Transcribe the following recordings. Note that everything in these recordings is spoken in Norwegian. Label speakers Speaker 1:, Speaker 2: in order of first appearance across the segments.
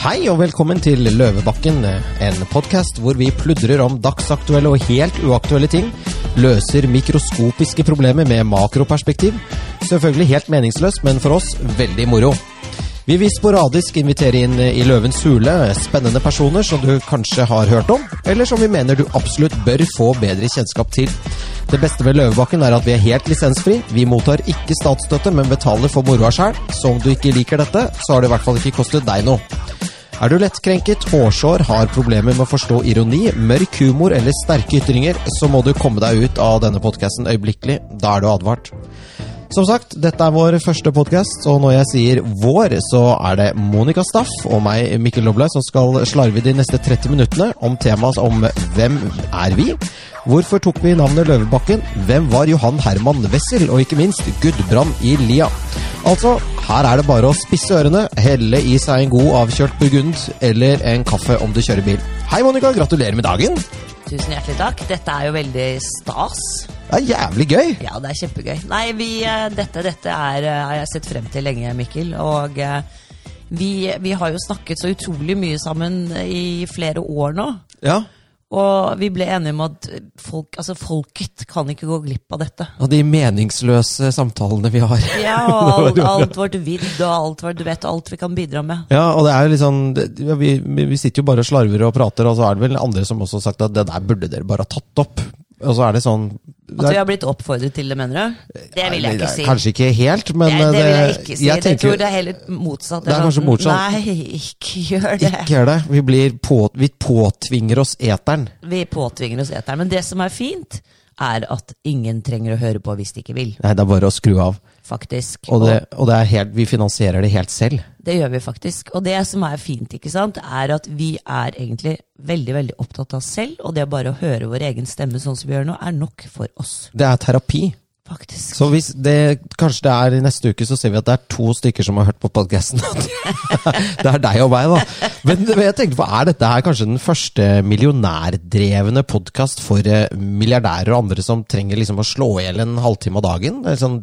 Speaker 1: Hei og velkommen til Løvebakken, en podkast hvor vi pludrer om dagsaktuelle og helt uaktuelle ting, løser mikroskopiske problemer med makroperspektiv. Selvfølgelig helt meningsløst, men for oss veldig moro. Vi vil sporadisk invitere inn i Løvens hule spennende personer som du kanskje har hørt om, eller som vi mener du absolutt bør få bedre kjennskap til. Det beste ved Løvebakken er at vi er helt lisensfri. Vi mottar ikke statsstøtte, men betaler for moroa sjæl. Så om du ikke liker dette, så har det i hvert fall ikke kostet deg noe. Er du lettkrenket, hårsår, har problemer med å forstå ironi, mørk humor eller sterke ytringer, så må du komme deg ut av denne podkasten øyeblikkelig. Da er du advart. Som sagt, dette er vår første podkast, og når jeg sier vår, så er det Monica Staff og meg, Mikkel Doble, som skal slarve de neste 30 minuttene om temaet om hvem er vi? Hvorfor tok vi navnet Løvebakken? Hvem var Johan Herman Wessel? Og ikke minst Gudbrand i Lia. Altså, her er det bare å spisse ørene, helle i seg en god avkjølt burgund eller en kaffe om du kjører bil. Hei, Monica, gratulerer med dagen!
Speaker 2: Tusen hjertelig takk. Dette er jo veldig stas.
Speaker 1: Det er jævlig gøy!
Speaker 2: Ja, det er kjempegøy. Nei, vi, eh, dette, dette er, eh, har jeg sett frem til lenge, Mikkel. Og eh, vi, vi har jo snakket så utrolig mye sammen i flere år nå.
Speaker 1: Ja,
Speaker 2: Og vi ble enige om at folk, altså folket kan ikke gå glipp av dette.
Speaker 1: og de meningsløse samtalene vi har.
Speaker 2: Ja, og alt, alt vårt vidd og alt vårt, du vet, alt vi kan bidra med.
Speaker 1: Ja, og det er jo litt sånn det- ja, vi, vi sitter jo bare og slarver og prater, og så er det vel andre som også har sagt at det der burde dere bare ha tatt opp. Og så er det sånn
Speaker 2: At vi har blitt oppfordret til det, mener du? Det vil Altså, jeg
Speaker 1: Nei,
Speaker 2: ikke si.
Speaker 1: Kanskje ikke helt, men
Speaker 2: Nei, det vil jeg
Speaker 1: eh,
Speaker 2: ikke si. Jeg,
Speaker 1: tenker-
Speaker 2: tror det er heller motsatt.
Speaker 1: Det er kanskje motsatt.
Speaker 2: Nei, ikke gjør det.
Speaker 1: Ikke gjør det. Vi, blir på, vi påtvinger oss eteren.
Speaker 2: Vi påtvinger oss eteren. Men det som er fint, er at ingen trenger å høre på hvis de ikke vil,
Speaker 1: Nei, det er bare å skru av.
Speaker 2: faktisk.
Speaker 1: Og, det, og det er helt, vi finansierer det helt selv.
Speaker 2: Og det gjør vi faktisk. Og det som er fint, ikke sant, er at vi er egentlig veldig veldig opptatt av oss selv, og det bare å høre vår egen stemme sånn som vi gjør nå, er nok for oss,
Speaker 1: Det er terapi.
Speaker 2: faktisk.
Speaker 1: Så hvis det, kanskje det er i neste uke, så ser vi at det er to stykker som har hørt på podkasten. det er deg og meg, da. Men, men jeg tenkte på, er dette her kanskje den første millionærdrevne podkast for eh, milliardærer og andre som trenger liksom å slå i hjel en halvtime av dagen? Det er Sånn,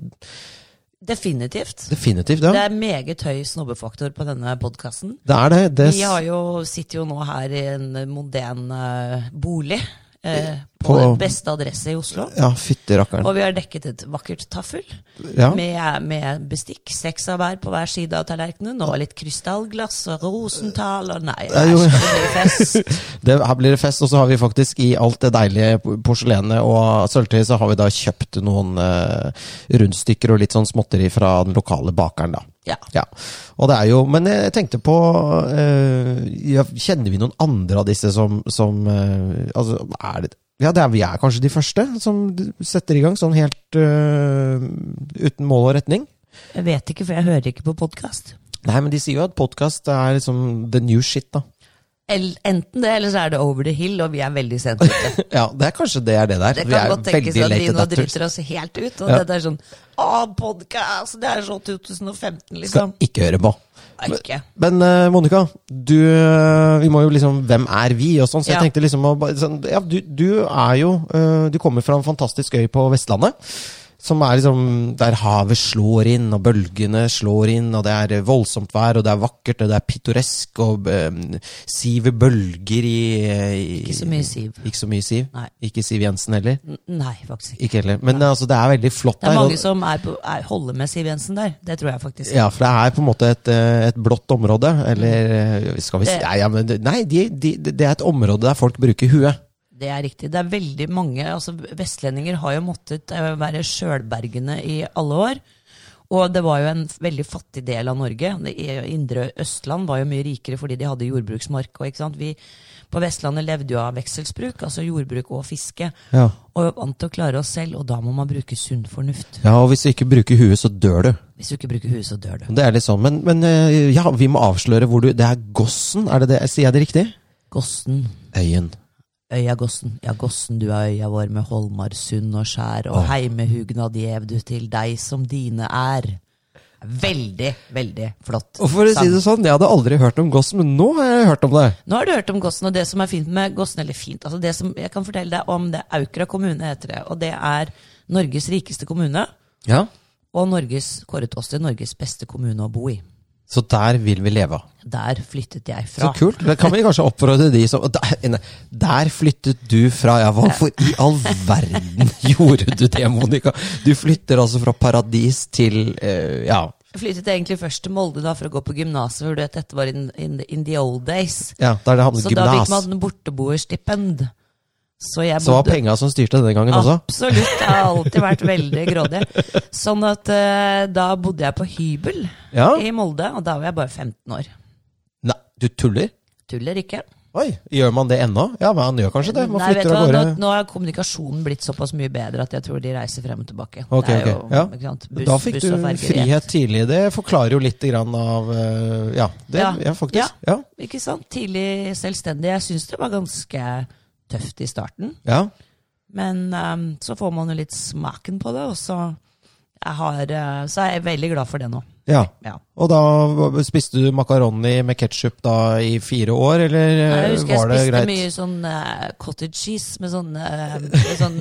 Speaker 2: Definitivt.
Speaker 1: definitivt,
Speaker 2: Det
Speaker 1: ja.
Speaker 2: er meget høy snobbefaktor på denne podkasten.
Speaker 1: Det er det. det
Speaker 2: Vi har jo, sitter jo nå her i en moderne bolig, eh, på,
Speaker 1: På-
Speaker 2: den beste adresse i Oslo.
Speaker 1: ja, fytti rakkeren.
Speaker 2: Og vi har dekket et vakkert taffel
Speaker 1: Ja.
Speaker 2: med, med bestikk. Seks av hver på hver side av tallerkenen. Og litt krystallglass og rosenthal og Nei,
Speaker 1: er jo-
Speaker 2: æsj, det blir fest.
Speaker 1: Det, her blir det fest, og så har vi faktisk i alt det deilige po- porselenet og sølvtøyet, så har vi da kjøpt noen eh, rundstykker og litt sånn småtteri fra den lokale bakeren, da.
Speaker 2: Ja.
Speaker 1: Ja, og det er jo, Men jeg tenkte på eh, ja, Kjenner vi noen andre av disse som, som eh, altså, er det, Ja, det er, vi er kanskje de første som d- setter i gang sånn helt eh, uten mål og retning?
Speaker 2: Jeg vet ikke, for jeg hører ikke på podkast.
Speaker 1: Nei, men de sier jo at podkast er liksom the new shit, da.
Speaker 2: Enten det, eller så er det Over the Hill, og vi er veldig sent ute.
Speaker 1: Ja, det er kanskje det er det der.
Speaker 2: Det
Speaker 1: vi
Speaker 2: kan
Speaker 1: er
Speaker 2: godt tenkes at
Speaker 1: veldig
Speaker 2: vi
Speaker 1: late
Speaker 2: nå
Speaker 1: adapters.
Speaker 2: driter oss helt ut. Og
Speaker 1: Ja.
Speaker 2: dette er sånn Å, podkast! Det er så 2015,
Speaker 1: Skal
Speaker 2: liksom.
Speaker 1: ikke høre på.
Speaker 2: Nei, Ikke.
Speaker 1: Men eh, Monica, du, eh, vi må jo liksom Hvem er vi? og sånn, Så jeg
Speaker 2: Ja.
Speaker 1: tenkte liksom å, bare sånn, ja, du, du er jo eh, Du kommer fra en fantastisk øy på Vestlandet. Som er liksom Der havet slår inn, og bølgene slår inn, og det er voldsomt vær, og det er vakkert, og det er pittoresk, og eh, siver bølger i, eh, i
Speaker 2: Ikke så mye siv.
Speaker 1: Ikke så mye siv.
Speaker 2: Nei.
Speaker 1: Ikke Siv Jensen heller.
Speaker 2: N- Nei, faktisk ikke.
Speaker 1: Ikke heller. Men eh, altså, det er veldig flott
Speaker 2: Det er
Speaker 1: der. og-
Speaker 2: mange som er på, er, holder med Siv Jensen der. Det tror jeg faktisk.
Speaker 1: Ja, for det er på en måte et, eh, et blått område. Eller eh, skal vi si
Speaker 2: Det-
Speaker 1: Nei, ja, men, det- nei de, de, det er et område der folk bruker huet.
Speaker 2: Det er riktig. Det er veldig mange altså Vestlendinger har jo måttet eh, være sjølbergende i alle år. Og det var jo en veldig fattig del av Norge. Det i- indre Østland var jo mye rikere fordi de hadde jordbruksmark. Og, ikke sant? Vi på Vestlandet levde jo av vekselsbruk, altså jordbruk og fiske.
Speaker 1: Ja.
Speaker 2: Og vant til å klare oss selv, og da må man bruke sunn fornuft.
Speaker 1: ja, og hvis du ikke bruker huet, så dør du.
Speaker 2: Hvis du ikke bruker huet, så dør du.
Speaker 1: Det er litt sånn, Men, men eh, ja, vi må avsløre hvor du Det er Gossen, er det det? Sier jeg det riktig?
Speaker 2: Gossen.
Speaker 1: Øyen.
Speaker 2: Øya Gossen, ja Gossen du er øya vår med holmar, sund og skjær, og heimehugnad gjev du til deg som dine er. Veldig, veldig flott.
Speaker 1: Og for å si
Speaker 2: sang.
Speaker 1: det sånn, jeg hadde aldri hørt om Gossen, men nå har jeg hørt om det.
Speaker 2: Nå har du hørt om Gossen, og det som er fint med Gossen, eller fint, altså det som jeg kan fortelle deg om, det er Aukra kommune heter det, og det er Norges rikeste kommune,
Speaker 1: Ja.
Speaker 2: og Norges, kåret oss til Norges beste kommune å bo i.
Speaker 1: Så der vil vi leve av.
Speaker 2: Der flyttet jeg fra.
Speaker 1: Så kult. Da kan vi kanskje oppfordre de som der, nei, der flyttet du fra, ja. Hvorfor i all verden gjorde du det, Monica? Du flytter altså fra paradis til eh, Ja.
Speaker 2: Jeg flyttet egentlig først til Molde da for å gå på gymnaset, for du vet, dette var in, in, in the old days.
Speaker 1: ja der det handlet
Speaker 2: Så da fikk
Speaker 1: gymnas.
Speaker 2: man borteboerstipend. Så jeg
Speaker 1: Så var
Speaker 2: bodde
Speaker 1: penga som styrte denne
Speaker 2: Ah.
Speaker 1: gangen også?
Speaker 2: Absolutt. Jeg har alltid vært veldig grådig. Sånn at eh, da bodde jeg på hybel
Speaker 1: Ja.
Speaker 2: i Molde, og da var jeg bare 15 år.
Speaker 1: Nei, du tuller?
Speaker 2: Tuller ikke.
Speaker 1: Oi, gjør man det ennå? Ja, man gjør kanskje det. Man
Speaker 2: Nei, vet du
Speaker 1: flytter av
Speaker 2: hva, nå,
Speaker 1: gårde.
Speaker 2: nå har kommunikasjonen blitt såpass mye bedre at jeg tror de reiser frem og tilbake.
Speaker 1: Ok,
Speaker 2: det er jo,
Speaker 1: ok, ja.
Speaker 2: ikke sant, buss,
Speaker 1: da fikk
Speaker 2: buss
Speaker 1: du
Speaker 2: og ferger,
Speaker 1: frihet tidlig. Det forklarer jo litt grann av eh, Ja, det, ja.
Speaker 2: Ja.
Speaker 1: faktisk. Ja.
Speaker 2: Ikke sant? Tidlig selvstendig. Jeg syns det var ganske tøft i starten.
Speaker 1: Ja.
Speaker 2: Men ehm, så får man jo litt smaken på det, og så, jeg har, eh, så er jeg veldig glad for det nå.
Speaker 1: ja.
Speaker 2: Ja.
Speaker 1: Og da v- spiste du makaroni med ketsjup da i fire år, eller eh,
Speaker 2: Jeg husker
Speaker 1: var det
Speaker 2: jeg spiste
Speaker 1: greit?
Speaker 2: mye sånn eh, cottage cheese med sånn, eh, med sånn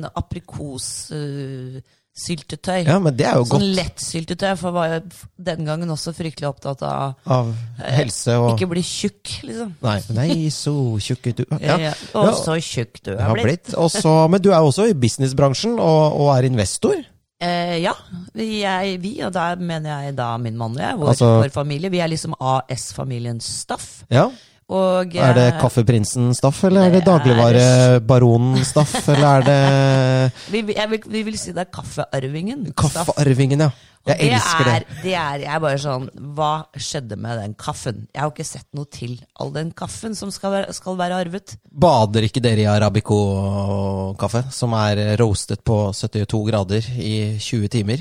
Speaker 2: aprikossyltetøy.
Speaker 1: Ja, men det er jo
Speaker 2: sånn
Speaker 1: godt.
Speaker 2: lettsyltetøy, for jeg var jo f- den gangen også fryktelig opptatt av
Speaker 1: Av helse og
Speaker 2: ikke bli tjukk, liksom.
Speaker 1: Nei, nei, så tjukk du
Speaker 2: Ja.
Speaker 1: ja.
Speaker 2: Og
Speaker 1: Ja.
Speaker 2: så tjukk du
Speaker 1: Du har
Speaker 2: har blitt.
Speaker 1: blitt. Og så- men du er jo også i businessbransjen og, og er investor.
Speaker 2: Eh, ja, vi, er, vi, og der mener jeg da min mann og jeg, vår,
Speaker 1: Altså-
Speaker 2: vår familie. Vi er liksom AS-familiens staff.
Speaker 1: Ja.
Speaker 2: Og,
Speaker 1: Er det
Speaker 2: eh,
Speaker 1: Kaffeprinsen-staff, eller er det
Speaker 2: Det er-
Speaker 1: Dagligvarebaronen-staff, eller er det
Speaker 2: vi, jeg vil, vi vil si det er kaffearvingen. staff.
Speaker 1: Kaffearvingen, ja. Jeg
Speaker 2: det
Speaker 1: elsker det.
Speaker 2: er, det. er, jeg er bare sånn, Hva skjedde med den kaffen? Jeg har ikke sett noe til all den kaffen som skal være, skal være arvet.
Speaker 1: Bader ikke dere i arabico-kaffe, som er eh, roastet på 72 grader i 20 timer?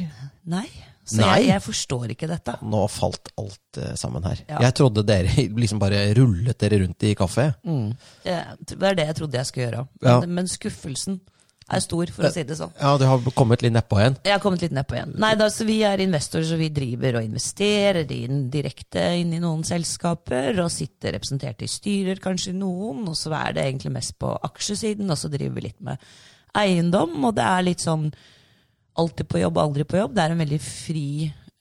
Speaker 2: Nei. Så
Speaker 1: Nei.
Speaker 2: Jeg, jeg forstår ikke dette.
Speaker 1: Nå falt alt eh, sammen her.
Speaker 2: Ja.
Speaker 1: Jeg trodde dere liksom bare rullet dere rundt i kaffe.
Speaker 2: Mm. Jeg- Det var det jeg trodde jeg skulle gjøre.
Speaker 1: Ja.
Speaker 2: Men, men skuffelsen er stor, for å si det sånn.
Speaker 1: Ja, du har kommet litt nedpå igjen.
Speaker 2: Jeg har kommet litt nedpå igjen. Nei, da, så Vi er investorer, så vi driver og investerer inn direkte inn i noen selskaper. Og sitter representert i styrer, kanskje i noen. Og så er det egentlig mest på aksjesiden. Og så driver vi litt med eiendom. Og det er litt sånn alltid på jobb, aldri på jobb. Det er en veldig fri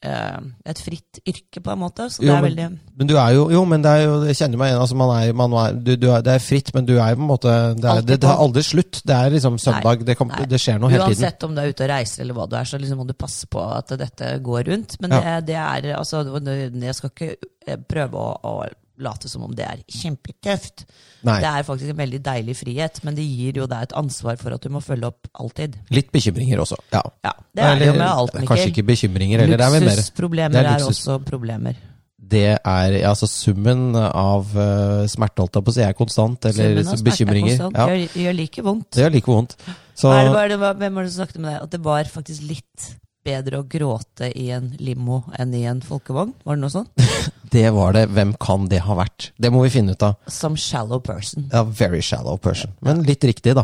Speaker 2: eh, Et fritt yrke, på en måte. Så det
Speaker 1: Jo,
Speaker 2: er
Speaker 1: men-
Speaker 2: veldig
Speaker 1: Men du er jo Jo, men det er jo, jeg kjenner meg igjen. Altså, man er, man er, du, du er, det er fritt, men du er på en måte Det er,
Speaker 2: Alltid
Speaker 1: det, det er
Speaker 2: på.
Speaker 1: aldri slutt. Det er liksom søndag. det, kan,
Speaker 2: Nei.
Speaker 1: det skjer noe hele tiden.
Speaker 2: Uansett om du er ute og reiser eller hva du er, så liksom må du passe på at dette går rundt. Men
Speaker 1: Ja.
Speaker 2: det, det er altså Jeg skal ikke eh, prøve å, å late som om det er kjempetøft.
Speaker 1: Nei.
Speaker 2: Det er faktisk en veldig deilig frihet, men det gir jo deg et ansvar for at du må følge opp alltid.
Speaker 1: Litt bekymringer også. Ja.
Speaker 2: Ja, det er det jo med alt,
Speaker 1: Eller, Kanskje
Speaker 2: Mikkel.
Speaker 1: ikke bekymringer heller. Det er vel mer
Speaker 2: Luksusproblemer
Speaker 1: det er
Speaker 2: er,
Speaker 1: luksus.
Speaker 2: også problemer.
Speaker 1: det er ja, altså summen av uh, smerte, holdt jeg på å si, er konstant. Eller
Speaker 2: Summen av smerte er
Speaker 1: bekymringer.
Speaker 2: konstant.
Speaker 1: Ja,
Speaker 2: Gjør, gjør like vondt.
Speaker 1: det er like vondt. Så
Speaker 2: Hva er det, hva er det, hva- hvem var det som snakket med deg? At det var faktisk litt bedre å gråte i en limo enn i en folkevogn? Var det noe sånt?
Speaker 1: det var det. Hvem kan det ha vært? Det må vi finne ut av.
Speaker 2: Som shallow person.
Speaker 1: Ja, very shallow person. Men litt riktig, da.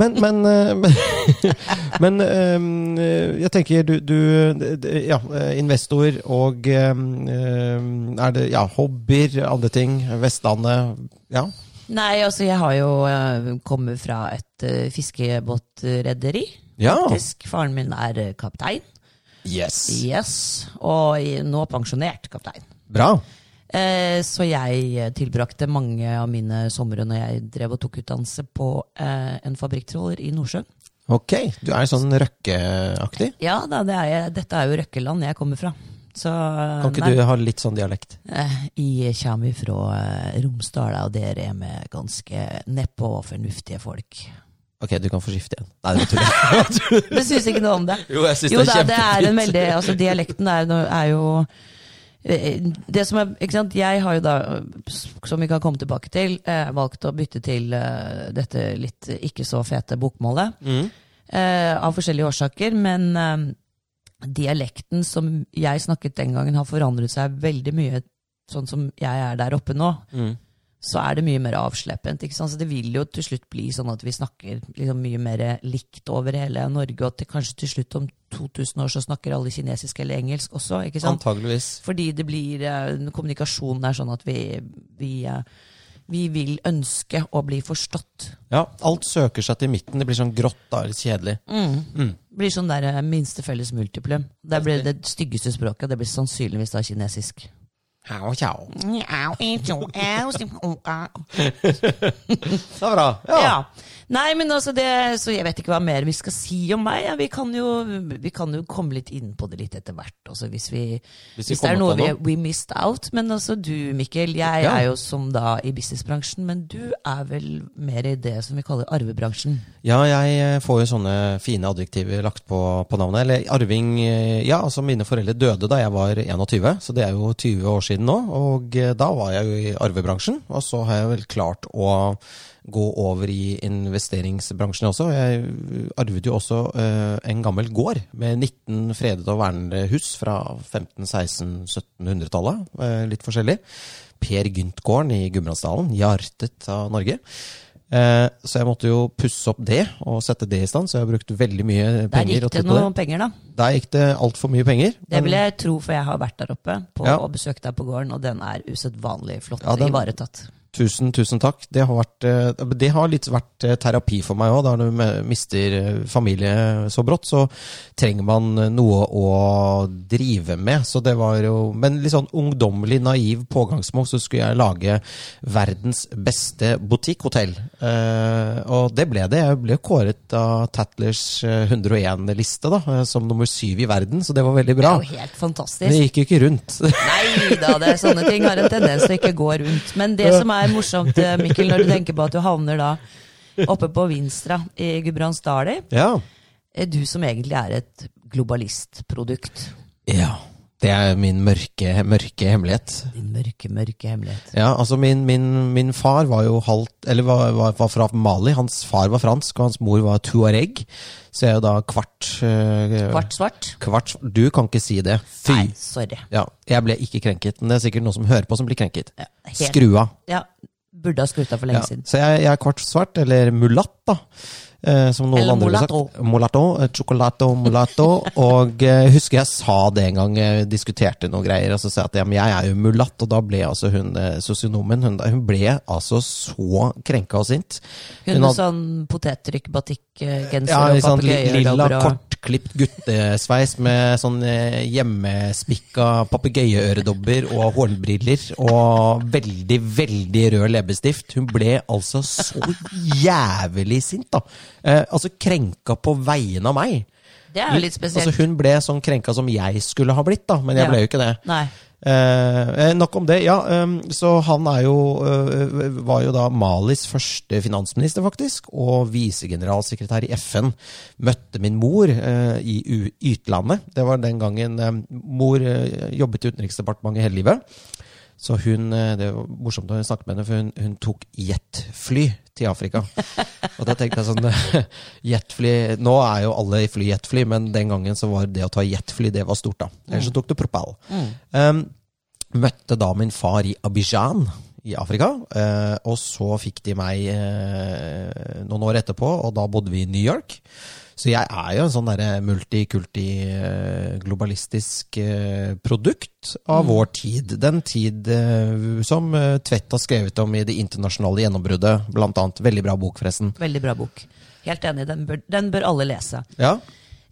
Speaker 1: Men, men, eh, men, men eh, jeg tenker du, du d- Ja, eh, investor og eh, eh, Er det ja, hobbyer, andre ting? Vestlandet? Ja.
Speaker 2: Nei, altså jeg har jo eh, kommer fra et eh, fiskebåtrederi.
Speaker 1: ja.
Speaker 2: Faktisk. Faren min er eh, kaptein.
Speaker 1: Yes.
Speaker 2: Yes. Og i- nå pensjonert kaptein.
Speaker 1: Bra.
Speaker 2: Eh, så jeg eh, tilbrakte mange av mine somre når jeg drev og tok utdannelse på eh, en fabrikktråler i Nordsjøen.
Speaker 1: Ok. Du er sånn røkkeaktig?
Speaker 2: Ja da, det er jeg, dette er jo Røkkeland jeg kommer fra. Så eh,
Speaker 1: Kan ikke du ha litt sånn dialekt?
Speaker 2: Jeg kommer fra eh, Romsdal, og der er vi ganske nedpå og fornuftige folk.
Speaker 1: Ok, du kan få skifte igjen. Nei, det tuller jeg.
Speaker 2: Du syns ikke noe om det?
Speaker 1: Jo, jeg syns
Speaker 2: Jo da, det er en veldig Altså, dialekten er, no- er jo eh, det som er, ikke sant? Jeg har jo da, eh, som vi kan komme tilbake til, eh, valgt å bytte til eh, dette litt ikke så fete bokmålet.
Speaker 1: Mm,
Speaker 2: eh, av forskjellige årsaker. Men eh, dialekten som jeg snakket den gangen, har forandret seg veldig mye. Sånn som jeg er der oppe nå,
Speaker 1: Mm.
Speaker 2: så er det mye mer avsleppent. Ikke sant? Så det vil jo til slutt bli sånn at vi snakker liksom mye mer likt over hele Norge, og at det kanskje til slutt om 2000 år så snakker alle kinesisk eller engelsk også. ikke sant?
Speaker 1: Antageligvis.
Speaker 2: Fordi det blir, eh, kommunikasjonen er sånn at vi, vi, eh, vi vil ønske å bli forstått.
Speaker 1: Ja, alt søker seg til midten. Det blir sånn grått da, litt kjedelig.
Speaker 2: blir sånn der eh, minste felles multiplum. Det blir det styggeste språket. Det blir sannsynligvis da kinesisk.
Speaker 1: Hau, tjau.
Speaker 2: Njau, njau, njau, stim, oka.
Speaker 1: Det var bra. Ja.
Speaker 2: Ja. Nei, men altså det, så jeg vet ikke hva mer vi skal si om meg. Ja, vi, kan jo, vi kan jo komme litt inn på det litt etter hvert. Altså hvis, vi,
Speaker 1: Hvis
Speaker 2: hvis,
Speaker 1: vi
Speaker 2: det er
Speaker 1: kommer
Speaker 2: noe
Speaker 1: på
Speaker 2: vi,
Speaker 1: noe.
Speaker 2: we missed out. Men altså du, Mikkel, jeg
Speaker 1: Ja.
Speaker 2: er jo som da i businessbransjen, men du er vel mer i det som vi kaller arvebransjen.
Speaker 1: Ja, jeg eh, får jo sånne fine adjektiver lagt på, på navnet. Eller arving eh, Ja, altså mine foreldre døde da jeg var 21, så det er jo 20 år siden nå. Og eh, da var jeg jo i arvebransjen, og så har jeg vel klart å gå over i investeringsbransjen også. Jeg arvet jo også eh, en gammel gård med 19 fredede og vernede hus fra 1500-, 1600-, 1700-tallet. eh, Litt forskjellig. Per Gynt-gården i Gudbrandsdalen, hjertet av Norge. Eh, Så jeg måtte jo pusse opp det og sette det i stand, så jeg har brukt veldig mye
Speaker 2: Der
Speaker 1: penger.
Speaker 2: gikk
Speaker 1: og
Speaker 2: det
Speaker 1: tid på
Speaker 2: noen penger, da.
Speaker 1: det. Der gikk det altfor mye penger.
Speaker 2: Det vil jeg tro, for jeg har vært der oppe på,
Speaker 1: Ja.
Speaker 2: og besøkt deg på gården, og den er usedvanlig flott
Speaker 1: Ja, den-
Speaker 2: ivaretatt.
Speaker 1: Tusen, tusen takk. Det har, vært, eh, det har litt vært eh, terapi for meg òg. Da du me- mister eh, familie så brått, så trenger man eh, noe å drive med. Så det var jo Men litt sånn ungdommelig naiv pågangsmot, så skulle jeg lage verdens beste butikkhotell. Eh, og det ble det. Jeg ble kåret av Tatlers eh, 101-liste da, eh, som nummer syv i verden, så det var veldig
Speaker 2: Det
Speaker 1: bra.
Speaker 2: er jo helt fantastisk.
Speaker 1: Men det gikk jo ikke rundt.
Speaker 2: Nei da, det er sånne ting har en tendens til å ikke gå rundt. Men det som er morsomt, eh, Mikkel, når du tenker på at du havner da oppe på Vinstra i Gudbrandsdali,
Speaker 1: ja.
Speaker 2: er du som egentlig er et globalistprodukt.
Speaker 1: ja. Det er min mørke, mørke hemmelighet.
Speaker 2: Din mørke, mørke hemmelighet.
Speaker 1: Ja, altså min, min, min far var jo halvt Eller var, var, var fra Mali. Hans far var fransk, og hans mor var tuareg. Så jeg er jo da kvart eh,
Speaker 2: Kvart svart?
Speaker 1: kvart- Du kan ikke si det. Fy!
Speaker 2: Nei, sorry.
Speaker 1: Ja, jeg ble ikke krenket, men det er sikkert noen som hører på som blir krenket.
Speaker 2: Ja, helt-
Speaker 1: Skru av.
Speaker 2: Ja, burde ha skruta for
Speaker 1: Ja,
Speaker 2: lenge siden.
Speaker 1: så jeg, jeg er kvart svart, eller mulatt, da. Eh, som noen
Speaker 2: Eller
Speaker 1: andre ville sagt.
Speaker 2: mulatto.
Speaker 1: Mulatto. eh, Chocolato, mulatto. og eh, husker jeg sa det en gang, eh, diskuterte noen greier, og så sa jeg at ja, men jeg er jo mulatt, og da ble altså hun eh, sosionomen hun, hun ble altså så krenka og sint.
Speaker 2: Hun med
Speaker 1: hadde-
Speaker 2: sånn potettrykk, batikkgenser
Speaker 1: ja,
Speaker 2: og
Speaker 1: litt sånn li- lilla,
Speaker 2: papegøyer. og-
Speaker 1: kortklipt guttesveis med sånn eh, hjemmespikka papegøyeøredobber og hårbriller og veldig, veldig rød leppestift. Hun ble altså så jævlig sint, da. Eh, altså krenka på vegne av meg.
Speaker 2: Det er jo litt spesielt.
Speaker 1: Altså Hun ble sånn krenka som jeg skulle ha blitt, da, men jeg
Speaker 2: Ja.
Speaker 1: ble jo ikke det.
Speaker 2: Nei.
Speaker 1: Eh, eh, nok om det. Ja, ehm, så han er jo, eh, var jo da Malis første finansminister, faktisk, og visegeneralsekretær i FN. Møtte min mor eh, i u utlandet. Det var den gangen eh, mor eh, jobbet i Utenriksdepartementet hele livet. Så hun, eh, Det var morsomt når hun snakket med henne, for hun, hun tok jetfly til Afrika. Og da tenkte jeg sånn Jetfly Nå er jo alle i fly jetfly, men den gangen så var det å ta jetfly det var stort, da. Ellers så tok du propell. Um, møtte da min far i Abidjan i Afrika, eh, og så fikk de meg eh, noen år etterpå, og da bodde vi i New York. Så jeg er jo en sånn derre multikulti-globalistisk eh, produkt av vår tid. Den tid eh, som eh, Tvedt har skrevet om i Det internasjonale gjennombruddet, blant annet. Veldig bra bok, forresten.
Speaker 2: Veldig bra bok. Helt enig, den bør, den bør alle lese.
Speaker 1: Ja,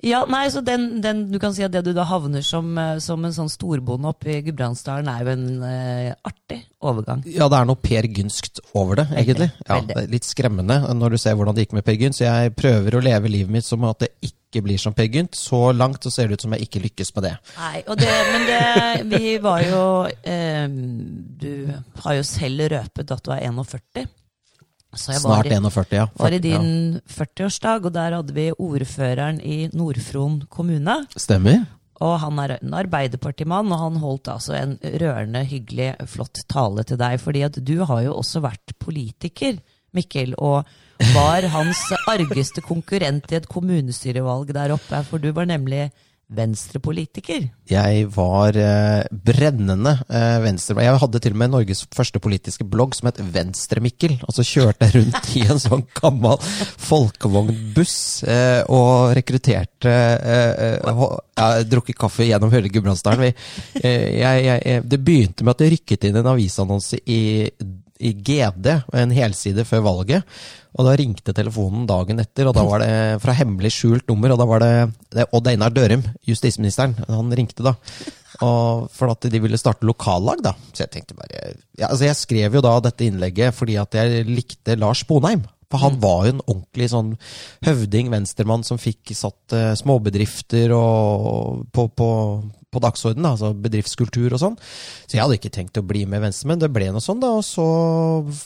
Speaker 2: Ja, nei, så den, den, Du kan si at det du da havner som, eh, som en sånn storbonde oppe i Gudbrandsdalen, er jo en eh, artig overgang.
Speaker 1: Ja, det er noe Per Gynskt over det, egentlig. Ja,
Speaker 2: veldig.
Speaker 1: det er litt skremmende når du ser hvordan det gikk med Per Gynt. Så jeg prøver å leve livet mitt som at det ikke blir som Per Gynt. Så langt så ser det ut som jeg ikke lykkes med det.
Speaker 2: Nei, og det, Men det, vi var jo eh, Du har jo selv røpet at du er 41. Så jeg
Speaker 1: Snart
Speaker 2: var i,
Speaker 1: 41, ja.
Speaker 2: var i
Speaker 1: ja.
Speaker 2: din 40-årsdag, og der hadde vi ordføreren i Nord-Fron kommune.
Speaker 1: Stemmer.
Speaker 2: Og han er en arbeiderpartimann, og han holdt altså en rørende, hyggelig, flott tale til deg. Fordi at du har jo også vært politiker, Mikkel, og var hans argeste konkurrent i et kommunestyrevalg der oppe. For du var nemlig venstrepolitiker.
Speaker 1: Jeg var eh, brennende eh, venstre... Jeg hadde til og med Norges første politiske blogg som het Venstre-Mikkel. Og så kjørte jeg rundt i en sånn gammel folkevognbuss eh, og rekrutterte eh, eh, ho- ja, Drukket kaffe gjennom hele Gudbrandsdalen. Vi- eh, jeg- jeg- jeg- Det begynte med at det rykket inn en avisannonse i, i GD, en helside før valget. Og da ringte telefonen dagen etter, og da var det fra hemmelig skjult nummer. Og da var det, det er Odd Einar Dørum, justisministeren, han ringte da. Og for at de ville starte lokallag, da. Så jeg tenkte bare ja, altså Jeg skrev jo da dette innlegget fordi at jeg likte Lars Bonheim. For han var jo en ordentlig sånn høvding, venstremann, som fikk satt eh, småbedrifter og på, på, på dagsordenen. da, Altså bedriftskultur og sånn. Så jeg hadde ikke tenkt å bli med venstremenn. Det ble noe sånn, da. Og så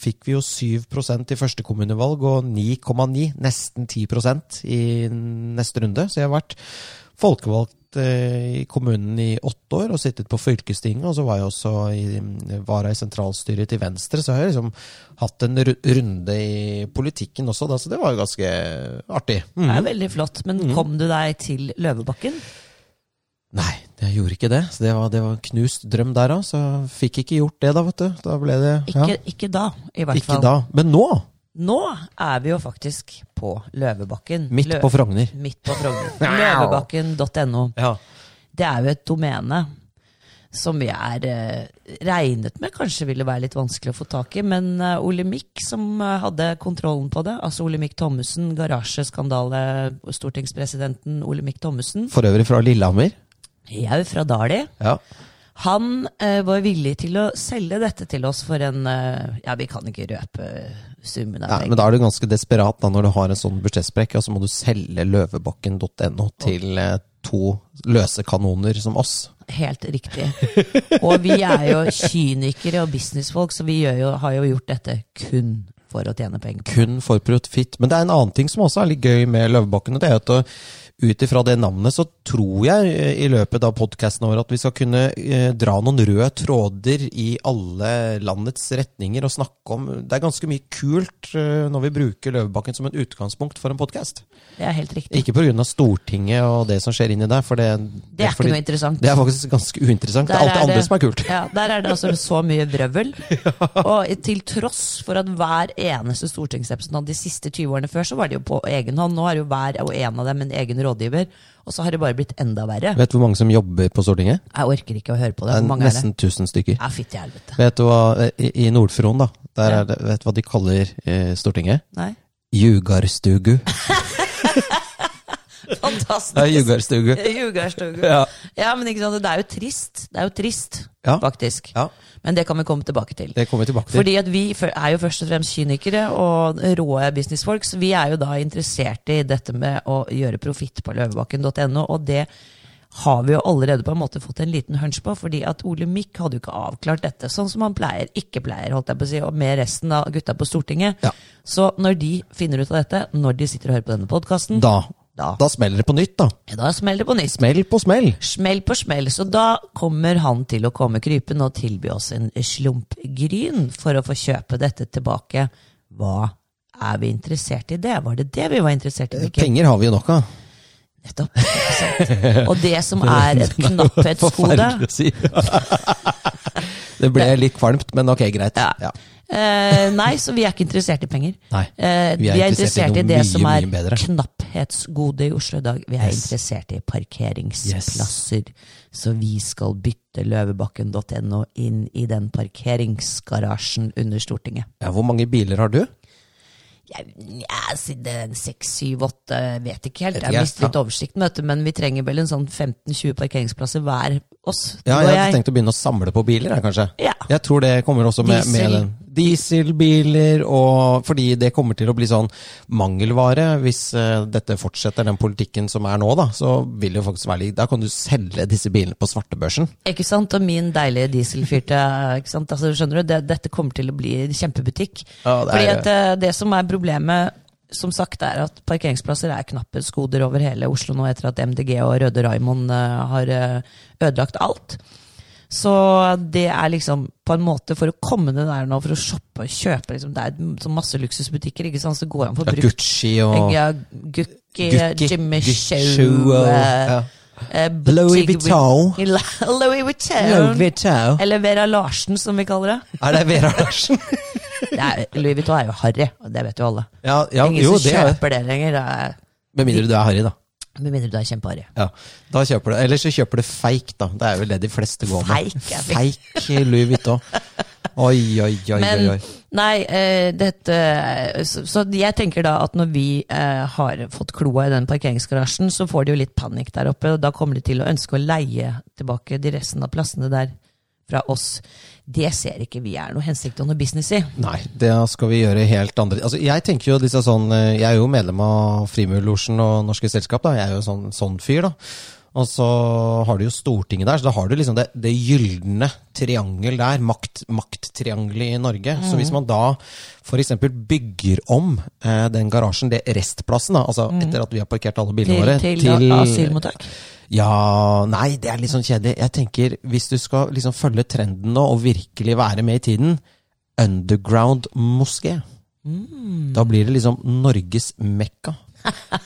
Speaker 1: fikk vi jo 7 i første kommunevalg og 9,9, nesten 10 i neste runde. Så jeg har vært folkevalgt eh, i kommunen i åtte år og sittet på fylkestinget. Og så var jeg også i, vara i sentralstyret til Venstre, så jeg har liksom hatt en ru- runde i politikken også, da, så det var jo ganske artig. Mm.
Speaker 2: Det er veldig flott. Men
Speaker 1: Mhm.
Speaker 2: kom du deg til Løvebakken?
Speaker 1: Nei, jeg gjorde ikke det. Så det var, det var en knust drøm der òg. Så fikk ikke gjort det, da, vet du. Da ble det
Speaker 2: Ikke, ikke da, i hvert
Speaker 1: ikke
Speaker 2: fall.
Speaker 1: da. Men nå!
Speaker 2: Nå er vi jo faktisk på Løvebakken.
Speaker 1: Midt
Speaker 2: Lø-
Speaker 1: på Frogner.
Speaker 2: Midt på Frogner. Løvebakken.no.
Speaker 1: Ja.
Speaker 2: Det er jo et domene som vi er eh, regnet med kanskje ville være litt vanskelig å få tak i, men eh, Ole Mikk som eh, hadde kontrollen på det, altså Ole Mikk Thommessen, garasjeskandale, stortingspresidenten Ole Mikk Thommessen,
Speaker 1: For øvrig fra Lillehammer.
Speaker 2: jau fra Dali,
Speaker 1: Ja.
Speaker 2: han eh, var villig til å selge dette til oss for en eh, Ja, vi kan ikke røpe summen av
Speaker 1: Ja, men
Speaker 2: penger.
Speaker 1: da er du ganske desperat da, når du har en sånn budsjettsprekk, og så må du selge løvebakken.no til eh, to løse kanoner som oss.
Speaker 2: Helt riktig. Og vi er jo kynikere og businessfolk, så vi gjør jo, har jo gjort dette kun for å tjene penger.
Speaker 1: Kun for profitt. Men det er en annen ting som også er litt gøy med Løvebakken, og det er at eh, ut ifra det navnet så tror jeg eh, i løpet av podkasten vår at vi skal kunne eh, dra noen røde tråder i alle landets retninger og snakke om Det er ganske mye kult eh, når vi bruker Løvebakken som et utgangspunkt for en podkast.
Speaker 2: Det er helt riktig.
Speaker 1: Ikke pga. Stortinget og det som skjer inni der, for det,
Speaker 2: Det er ikke
Speaker 1: fordi-
Speaker 2: noe interessant.
Speaker 1: Det er faktisk ganske uinteressant. det
Speaker 2: Der
Speaker 1: er alt det
Speaker 2: er
Speaker 1: andre
Speaker 2: det-
Speaker 1: som er kult.
Speaker 2: Ja, Der er det altså så mye brøvel. Og til tross for at hver eneste stortingsrepresentant de siste 20 årene før, så var det jo på egen hånd. Nå har jo hver og en av dem en egen rådgiver. Og så har det bare blitt enda verre.
Speaker 1: Vet du hvor mange som jobber på Stortinget?
Speaker 2: Jeg orker ikke å høre på det.
Speaker 1: Det
Speaker 2: Hvor
Speaker 1: er
Speaker 2: mange er det?
Speaker 1: nesten 1000 stykker.
Speaker 2: Ja, fytti helvete.
Speaker 1: Vet du hva, eh, i, i Nordfron, da, der
Speaker 2: Ja.
Speaker 1: er det, vet du hva de kaller eh, Stortinget?
Speaker 2: Nei.
Speaker 1: Jugarstugu. Det er
Speaker 2: Fantastisk.
Speaker 1: jugarstugu.
Speaker 2: Jugarstugu.
Speaker 1: Ja.
Speaker 2: Ja, men ikke sant, det er jo trist. Det er jo trist,
Speaker 1: Ja.
Speaker 2: faktisk.
Speaker 1: ja,
Speaker 2: Men det kan vi komme tilbake til.
Speaker 1: det kommer vi tilbake til.
Speaker 2: Fordi at vi fø- er jo først og fremst kynikere og råe businessfolk, så vi er jo da interessert i dette med å gjøre profitt på løvebakken.no, og det har vi jo allerede på en måte fått en liten hunch på, fordi at Ole Mikk hadde jo ikke avklart dette, sånn som han pleier, ikke pleier, holdt jeg på å si, og med resten av gutta på Stortinget.
Speaker 1: Ja.
Speaker 2: Så når de finner ut av dette, når de sitter og hører på denne podkasten,
Speaker 1: Da,
Speaker 2: Da.
Speaker 1: da smeller det på nytt, da.
Speaker 2: da smeller det på nytt.
Speaker 1: Smell på smell.
Speaker 2: Smell på smell, så da kommer han til å komme krypen og tilby oss en slump gryn for å få kjøpe dette tilbake. Hva er vi interessert i det? Var det det vi var interessert
Speaker 1: Eh,
Speaker 2: i? Mikkel?
Speaker 1: Penger har vi jo nok av.
Speaker 2: Nettopp. ikke sant? Og det som er et knapphetsgode
Speaker 1: Forferdelig å si. det ble litt kvalmt, men ok, greit.
Speaker 2: Ja.
Speaker 1: Ja.
Speaker 2: eh, Nei, så vi er ikke interessert i penger.
Speaker 1: Nei.
Speaker 2: Eh,
Speaker 1: Vi er interessert i noe
Speaker 2: det
Speaker 1: mye,
Speaker 2: som er
Speaker 1: mye bedre.
Speaker 2: knapphetsgode i Oslo i dag. Vi er
Speaker 1: Yes.
Speaker 2: interessert i parkeringsplasser. Så vi skal bytte løvebakken.no inn i den parkeringsgarasjen under Stortinget.
Speaker 1: Ja, hvor mange biler har du?
Speaker 2: Jeg, jeg sitter seks, syv, åtte, vet ikke helt.
Speaker 1: Vet
Speaker 2: Jeg
Speaker 1: ikke,
Speaker 2: har mistet litt oversikten, vet du, men vi trenger vel en sånn 15-20 parkeringsplasser hver oss.
Speaker 1: Ja,
Speaker 2: du og
Speaker 1: jeg hadde tenkt å begynne å samle på biler, jeg, kanskje.
Speaker 2: Ja.
Speaker 1: Jeg tror det kommer også med, med
Speaker 2: Diesel.
Speaker 1: den. Dieselbiler og Fordi det kommer til å bli sånn mangelvare hvis eh, dette fortsetter den politikken som er nå, da. Så vil det jo faktisk være litt Da kan du selge disse bilene på svartebørsen.
Speaker 2: Ikke sant? Og min deilige dieselfyrte. ikke sant? Altså, skjønner du? Det, dette kommer til å bli en kjempebutikk.
Speaker 1: Ja, det er
Speaker 2: Fordi
Speaker 1: det.
Speaker 2: at eh, det som er problemet, som sagt, er at parkeringsplasser er knapphetsgoder over hele Oslo nå etter at MDG og Røde Raymond eh, har eh, ødelagt alt. Så det er liksom på en måte for å komme ned der nå, for å shoppe og kjøpe liksom, Det er så masse luksusbutikker, ikke sant? så går han for
Speaker 1: Ja,
Speaker 2: brukt
Speaker 1: Gucci og
Speaker 2: ja, Gucci, eh,
Speaker 1: Gucci,
Speaker 2: Jimmy
Speaker 1: Gucci
Speaker 2: Choo,
Speaker 1: og-
Speaker 2: eh, eh,
Speaker 1: Louis
Speaker 2: Boutique
Speaker 1: Vuitton.
Speaker 2: Vu- Louis Vuitton.
Speaker 1: Louis Vuitton.
Speaker 2: Eller Vera Larsen, som vi kaller det.
Speaker 1: Er det Vera Larsen?
Speaker 2: det er, Louis Vuitton er jo harry, og det vet jo alle.
Speaker 1: Ja, ja
Speaker 2: Ingen
Speaker 1: jo,
Speaker 2: som
Speaker 1: det er det.
Speaker 2: kjøper det lenger. Det er,
Speaker 1: Med mindre du er Harry, da.
Speaker 2: Med mindre du er kjempeharry.
Speaker 1: Ja, da kjøper du Eller så kjøper du fake, da. Det er vel det de fleste går med.
Speaker 2: Fake, er det.
Speaker 1: Fake Louis Vuitton. Oi, oi, oi, oi,
Speaker 2: Men
Speaker 1: oi.
Speaker 2: nei, eh, dette eh, så, så jeg tenker da at når vi eh, har fått kloa i den parkeringsgarasjen, så får de jo litt panikk der oppe, og da kommer de til å ønske å leie tilbake de resten av plassene der fra oss. Det ser ikke vi er noe hensikt og noe business i.
Speaker 1: Nei, det skal vi gjøre helt andre Altså, Jeg tenker jo disse sånn eh, Jeg er jo medlem av Frimurlosjen og Norske Selskap, da. Jeg er jo sånn, sånn fyr, da. Og så har du jo Stortinget der, så da har du liksom det, det gylne triangel der, makt, makttriangelet i Norge.
Speaker 2: Mm.
Speaker 1: Så hvis man da f.eks. bygger om eh, den garasjen, det restplassen, da, altså etter at vi har parkert alle bilene
Speaker 2: Mm. Til,
Speaker 1: våre,
Speaker 2: til, asylmottak.
Speaker 1: ja, nei, det er litt sånn kjedelig. Jeg tenker, hvis du skal liksom følge trenden nå, og virkelig være med i tiden, underground moské.
Speaker 2: Mm.
Speaker 1: Da blir det liksom Norges Mekka. Ja,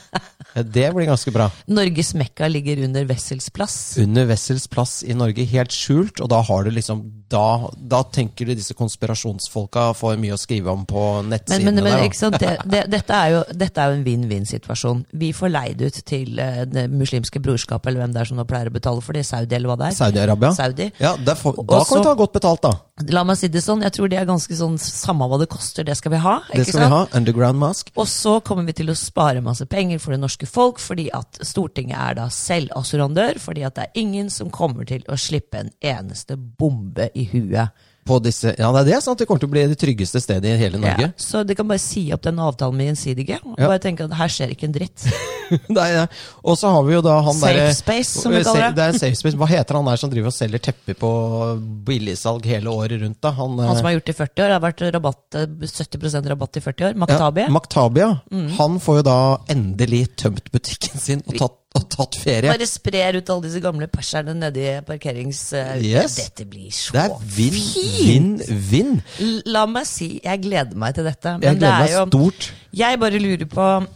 Speaker 1: Det blir ganske bra.
Speaker 2: Norges Mekka ligger under Wessels plass.
Speaker 1: Under Wessels plass i Norge, helt skjult, og da har du liksom Da, da tenker du disse konspirasjonsfolka får mye å skrive om på
Speaker 2: Men,
Speaker 1: nettsidene
Speaker 2: men, men
Speaker 1: der. da.
Speaker 2: ikke sant? Det, det, dette, er jo, dette er jo en vinn-vinn-situasjon. Vi får leid ut til eh, det muslimske brorskapet, eller hvem det er som nå pleier å betale for det, Saudi eller hva det er.
Speaker 1: Saudi-Arabia?
Speaker 2: Saudi.
Speaker 1: Ja, der får, da
Speaker 2: Også-
Speaker 1: kan du ta godt betalt, da.
Speaker 2: La meg si det sånn, jeg tror det er ganske sånn samme hva det koster, det skal vi ha.
Speaker 1: Det
Speaker 2: Ikke
Speaker 1: skal
Speaker 2: sant?
Speaker 1: vi ha. Underground mask.
Speaker 2: Og så kommer vi til å spare masse penger for det norske folk, fordi at Stortinget er da selv assurandør, fordi at det er ingen som kommer til å slippe en eneste bombe i huet.
Speaker 1: På disse, ja, det er det. sant? Det kommer til å bli det tryggeste stedet i hele Norge.
Speaker 2: Ja. Så de kan bare si opp den avtalen med Gjensidige. og
Speaker 1: Ja.
Speaker 2: Bare tenke at her skjer ikke en dritt.
Speaker 1: Nei, nei. Og så har vi jo da han
Speaker 2: Safe
Speaker 1: derre- Eh,
Speaker 2: space, som vi kaller det.
Speaker 1: Det er safe space. Hva heter han der som driver og selger tepper på billigsalg hele året rundt, da? Han, eh,
Speaker 2: Han som har gjort det i 40 år, har vært rabatt, eh, 70 rabatt i 40 år. Maktabi.
Speaker 1: Maktabia.
Speaker 2: Mm.
Speaker 1: Han får jo da endelig tømt butikken sin og tatt, og tatt ferie.
Speaker 2: Bare sprer ut alle disse gamle perserne nedi parkerings... eh,
Speaker 1: Yes.
Speaker 2: Dette blir så
Speaker 1: Det er vinn, vinn, vinn.
Speaker 2: L- La meg si, jeg gleder meg til dette. Men
Speaker 1: Jeg
Speaker 2: det
Speaker 1: gleder
Speaker 2: er
Speaker 1: meg
Speaker 2: jo,
Speaker 1: stort.
Speaker 2: jeg bare lurer på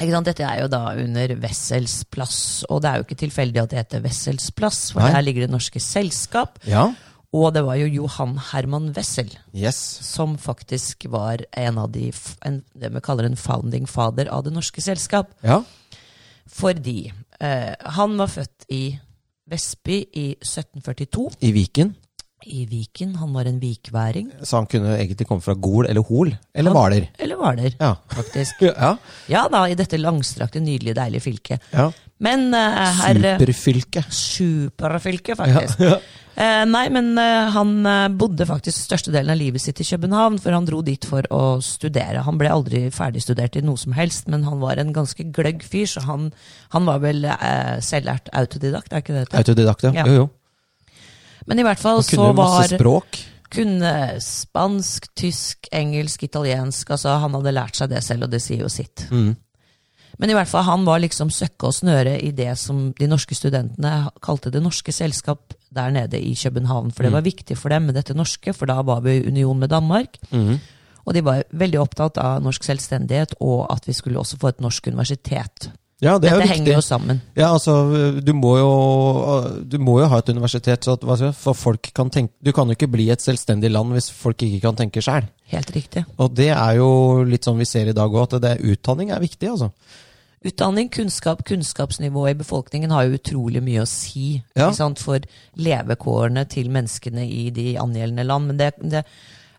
Speaker 2: ikke sant? Dette er jo da under Wessels plass, og det er jo ikke tilfeldig at det heter Wessels plass, for
Speaker 1: Nei.
Speaker 2: der ligger det norske selskap.
Speaker 1: Ja.
Speaker 2: Og det var jo Johan Herman Wessel
Speaker 1: Yes.
Speaker 2: som faktisk var en av de, f- en, det vi kaller en founding father av det norske selskap.
Speaker 1: Ja.
Speaker 2: Fordi eh, han var født i Vestby i 1742,
Speaker 1: I Viken.
Speaker 2: i Viken. Han var en vikværing.
Speaker 1: Så han kunne egentlig komme fra Gol eller Hol eller
Speaker 2: Han-
Speaker 1: Hvaler.
Speaker 2: Eller Hvaler,
Speaker 1: Ja.
Speaker 2: faktisk.
Speaker 1: Ja.
Speaker 2: Ja da, i dette langstrakte, nydelige, deilige fylket.
Speaker 1: ja.
Speaker 2: Men eh, herre
Speaker 1: Superfylke.
Speaker 2: Superfylket, faktisk. Eh, nei, men eh, han eh, bodde faktisk største delen av livet sitt i København, for han dro dit for å studere. Han ble aldri ferdigstudert i noe som helst, men han var en ganske gløgg fyr, så han, han var vel eh, selvlært autodidakt, er ikke det det heter?
Speaker 1: Autodidakt, ja.
Speaker 2: Ja.
Speaker 1: Jo, jo.
Speaker 2: Men i hvert fall
Speaker 1: Han
Speaker 2: så
Speaker 1: kunne masse
Speaker 2: var
Speaker 1: språk.
Speaker 2: Kunne spansk, tysk, engelsk, italiensk. Altså, han hadde lært seg det selv, og det sier jo sitt. Men i hvert fall, han var liksom søkke og snøre i det som de norske studentene kalte det norske selskap der nede i København. For det var viktig for dem med dette norske, for da var vi i union med Danmark. Og de var veldig opptatt av norsk selvstendighet, og at vi skulle også få et norsk universitet.
Speaker 1: Ja, det er
Speaker 2: Dette
Speaker 1: jo viktig.
Speaker 2: henger jo sammen.
Speaker 1: Ja, altså, du må jo, du må jo ha et universitet, så at, hva skal jeg- for folk kan tenke Du kan jo ikke bli et selvstendig land hvis folk ikke kan tenke sjøl.
Speaker 2: Helt riktig.
Speaker 1: Og det er jo litt sånn vi ser i dag òg, at det, utdanning er viktig, altså.
Speaker 2: Utdanning, kunnskap, kunnskapsnivået i befolkningen har jo utrolig mye å si
Speaker 1: Ja.
Speaker 2: ikke sant, for levekårene til menneskene i de angjeldende land. Men det, det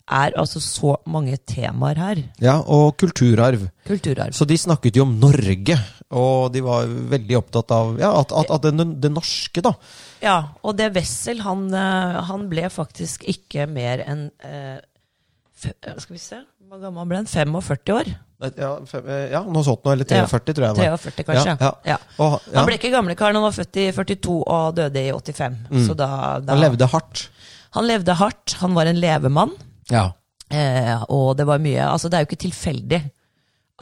Speaker 2: er altså så mange temaer her.
Speaker 1: Ja, Og kulturarv.
Speaker 2: Kulturarv.
Speaker 1: Så de snakket jo om Norge, og de var veldig opptatt av ja, at, at, at det, det norske, da.
Speaker 2: Ja, og det Wessel, han, eh, han ble faktisk ikke mer enn eh, fe- Skal vi se, hvor gammel ble han? 45 år?
Speaker 1: Ja, fem, ja noe sånt noe. Eller 43, tror jeg det var.
Speaker 2: 43, kanskje.
Speaker 1: Ja, ja. Og, ja.
Speaker 2: Han ble ikke gamlekaren, han var født i 42 og døde i 85. Så da,
Speaker 1: Mm.
Speaker 2: da
Speaker 1: Han levde hardt.
Speaker 2: han levde hardt, han var en levemann.
Speaker 1: Ja.
Speaker 2: Eh, og det var mye Altså, det er jo ikke tilfeldig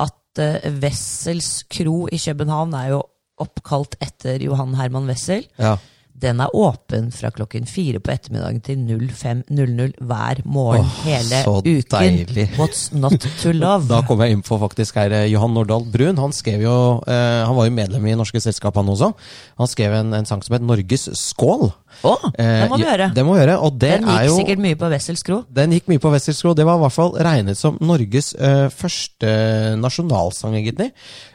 Speaker 2: at eh, Wessels kro i København er jo oppkalt etter Johan Herman Wessel.
Speaker 1: ja.
Speaker 2: Den er åpen fra klokken fire på ettermiddagen til 05.00 hver morgen
Speaker 1: Åh,
Speaker 2: hele
Speaker 1: så
Speaker 2: uken.
Speaker 1: deilig.
Speaker 2: What's not to love?
Speaker 1: Da kom jeg inn på faktisk her eh, Johan Nordahl Brun. Han skrev jo eh, Han var jo medlem i Norske Selskap, han også. Han skrev en, en sang som het 'Norges skål'.
Speaker 2: Å,
Speaker 1: Eh,
Speaker 2: det må du
Speaker 1: ja,
Speaker 2: gjøre.
Speaker 1: Det må vi gjøre, og det
Speaker 2: Den gikk
Speaker 1: er jo
Speaker 2: sikkert mye på Wessels kro.
Speaker 1: den gikk mye på Wessels Kro. Det var i hvert fall regnet som Norges eh, første nasjonalsang, egentlig.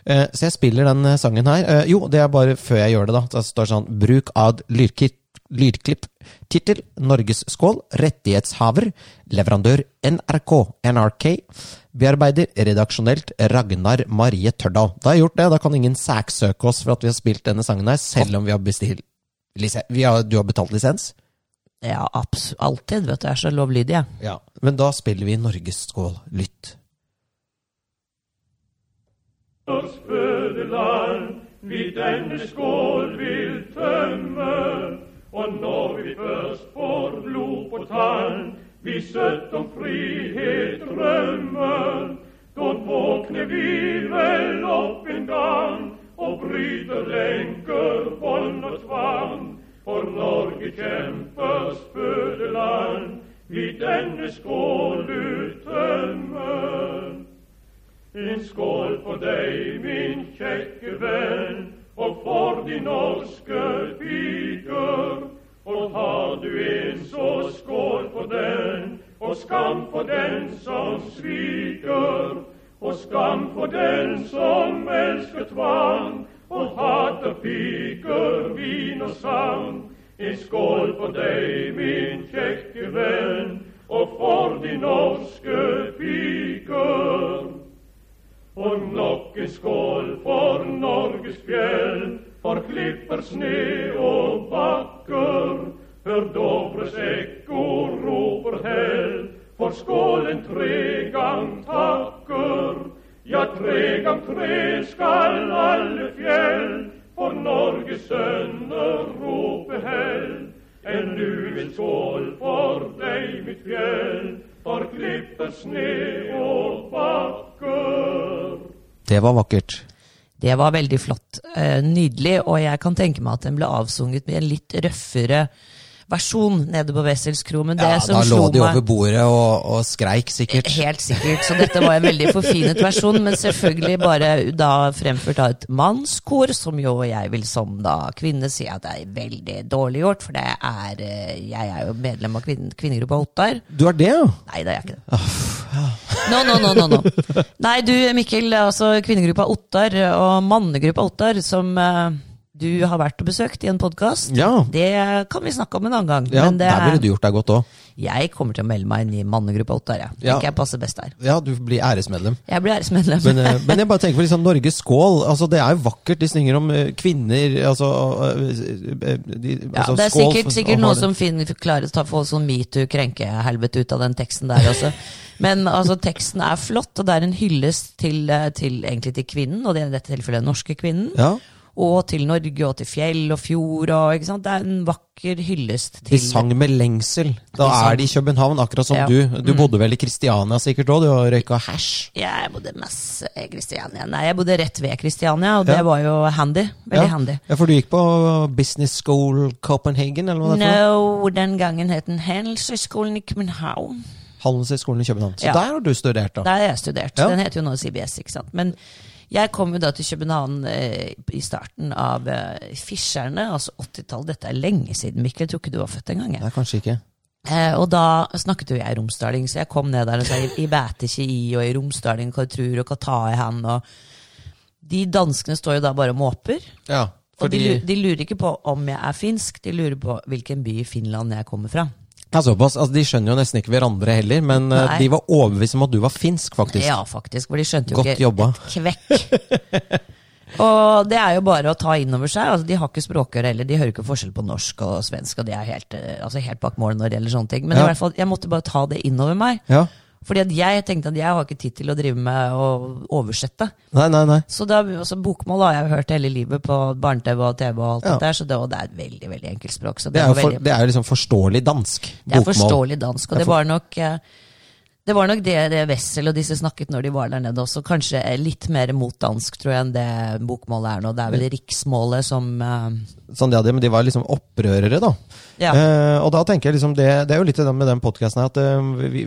Speaker 1: Eh, så jeg spiller den eh, sangen her. Eh, jo, det er bare før jeg gjør det, da. Det står sånn Bruk ad lyrkit, lyrklipp. Tittel Norges skål. Rettighetshaver. Leverandør NRK. NRK. Bearbeider redaksjonelt Ragnar Marie Tørdal. Da har jeg gjort det. Da kan ingen saksøke oss for at vi har spilt denne sangen her, selv om vi har bestilt lisen- vi har, Du har betalt lisens?
Speaker 2: Ja, abs alltid. vet du, Jeg er så lovlydig, jeg.
Speaker 1: Ja, men da spiller vi Norges skål. Lytt.
Speaker 3: Vores fødeland, vi denne skål vil tømme, og når vi først får blod på tann, vi sødt om frihet drømmer, da våkner vi vel opp en gang, og bryter lenker, vold og tvang, for Norge kjempers fødeland, vi denne skål uttømmer. En skål for deg, min kjekke venn, og for de norske piker. Og har du en, så skål for den, og skam for den som sviker. Og skam for den som elsker tvang, og hater piker, vin og sang. En skål for deg, min kjekke venn, og for de norske piker. Og nok en skål for Norges fjell, for klipper, sne og bakker. Hør Dovres ekko roper hell, for skålen tre gang takker. Ja, tre gang tre skal alle fjell, for Norges sønner rope hell. En luen skål for deg, mitt fjell, for klipper, sne og bakker.
Speaker 1: Det var vakkert.
Speaker 2: Det var veldig flott. eh, Nydelig. Og jeg kan tenke meg at den ble avsunget med en litt røffere versjon nede på Wessels kro. Men det
Speaker 1: Ja,
Speaker 2: som
Speaker 1: da lå
Speaker 2: slo
Speaker 1: de
Speaker 2: meg
Speaker 1: over bordet og, og skreik sikkert.
Speaker 2: Helt sikkert. Så dette var en veldig forfinet versjon, men selvfølgelig bare da fremført av et mannskor, som jo jeg vil som da kvinne si at er veldig dårlig gjort, for det er eh, Jeg er jo medlem av kvinne, kvinnegruppa Ottar.
Speaker 1: Du er det, ja?
Speaker 2: Nei, det er jeg ikke det. No, no, no, no, no. Nei, du Mikkel, altså kvinnegruppa Ottar og mannegruppa Ottar, som eh, du har vært og besøkt i en podkast,
Speaker 1: Ja,
Speaker 2: det kan vi snakke om en annen gang.
Speaker 1: ja
Speaker 2: men det
Speaker 1: der ville
Speaker 2: er,
Speaker 1: du gjort deg godt òg.
Speaker 2: jeg kommer til å melde meg inn i mannegruppa Ottar. Jeg
Speaker 1: Ja.
Speaker 2: tenker jeg passer best der.
Speaker 1: Ja, du blir æresmedlem.
Speaker 2: Jeg blir æresmedlem.
Speaker 1: Men, eh, men jeg bare tenker på liksom Norges skål. Altså, det er jo vakkert. De synger om eh, kvinner altså, eh, eh, de,
Speaker 2: Ja,
Speaker 1: altså,
Speaker 2: det er
Speaker 1: skål
Speaker 2: sikkert,
Speaker 1: for-
Speaker 2: sikkert
Speaker 1: og
Speaker 2: noe
Speaker 1: har det.
Speaker 2: som Finn klarer å ta få sånn metoo-krenkehelvete ut av den teksten der også. Men altså, teksten er flott, og det er en hyllest til, eh, til, egentlig til kvinnen, og det er i dette tilfellet den norske kvinnen.
Speaker 1: ja,
Speaker 2: Og til Norge, og til fjell og fjord. Og, ikke sant? Det er en vakker hyllest
Speaker 1: De
Speaker 2: til
Speaker 1: sang med lengsel. Da
Speaker 2: De sang-
Speaker 1: er de i København, akkurat som
Speaker 2: Ja. Mm.
Speaker 1: du. Du bodde vel i Kristiania sikkert òg, du har røyka hasj.
Speaker 2: Jeg bodde masse i Kristiania. Nei, jeg bodde rett ved Kristiania, og
Speaker 1: Ja.
Speaker 2: det var jo handy. Veldig
Speaker 1: Ja.
Speaker 2: handy.
Speaker 1: ja, for du gikk på Business School Copenhagen, eller hva det er? for noe?
Speaker 2: No, den gangen het den Handelshøyskolen i København.
Speaker 1: Handelshøyskolen i København. Så
Speaker 2: Ja.
Speaker 1: der har du studert, da.
Speaker 2: Der har jeg studert.
Speaker 1: Ja.
Speaker 2: Den heter jo nå CBS, ikke sant. Men jeg kom jo da til København eh, i starten av eh, Fiskerne, altså 80-tallet. Dette er lenge siden, Mikkel. Jeg tror ikke du var født engang. jeg.
Speaker 1: Nei, kanskje ikke.
Speaker 2: Eh, og da snakket jo jeg romsdaling, så jeg kom ned der og sa i bæte ikke i, og i romsdaling, hva tror og hva tar jeg hen, og De danskene står jo da bare og måper.
Speaker 1: Ja,
Speaker 2: Og de,
Speaker 1: fordi
Speaker 2: lu- de lurer ikke på om jeg er finsk, de lurer på hvilken by i Finland jeg kommer fra.
Speaker 1: ja, såpass. Altså, de skjønner jo nesten ikke hverandre heller, men eh,
Speaker 2: Nei.
Speaker 1: de var overbevist om at du var finsk, faktisk.
Speaker 2: Ja, faktisk. For de skjønte jo
Speaker 1: Godt
Speaker 2: ikke
Speaker 1: jobba.
Speaker 2: et kvekk. Og det er jo bare å ta inn over seg. Altså, de har ikke språkøre heller. De hører ikke forskjell på norsk og svensk, og de er helt, eh, altså, helt bak mål når det gjelder sånne ting. Men
Speaker 1: Ja.
Speaker 2: i hvert fall, jeg måtte bare ta det inn over meg.
Speaker 1: Ja.
Speaker 2: Fordi at jeg tenkte at jeg har ikke tid til å drive med å oversette.
Speaker 1: Nei, nei, nei.
Speaker 2: Så da, altså, bokmål har jeg jo hørt hele livet på barne-TV og TV og alt
Speaker 1: Ja.
Speaker 2: det der, så det, og det er et veldig veldig enkelt språk. Så det,
Speaker 1: Det er jo
Speaker 2: var
Speaker 1: for,
Speaker 2: veldig,
Speaker 1: det er jo liksom forståelig dansk.
Speaker 2: det er
Speaker 1: bokmål.
Speaker 2: forståelig dansk, og
Speaker 1: Det er
Speaker 2: det var nok eh, det var nok det, det Wessel og disse snakket når de var der nede også. Kanskje eh, litt mer mot dansk tror jeg enn det bokmålet er nå. Det er vel riksmålet som eh,
Speaker 1: Sånn, ja, det, men de var liksom opprørere, da.
Speaker 2: Ja.
Speaker 1: Eh, og da tenker jeg liksom det, det er jo litt det med den podkasten her, at, eh, vi,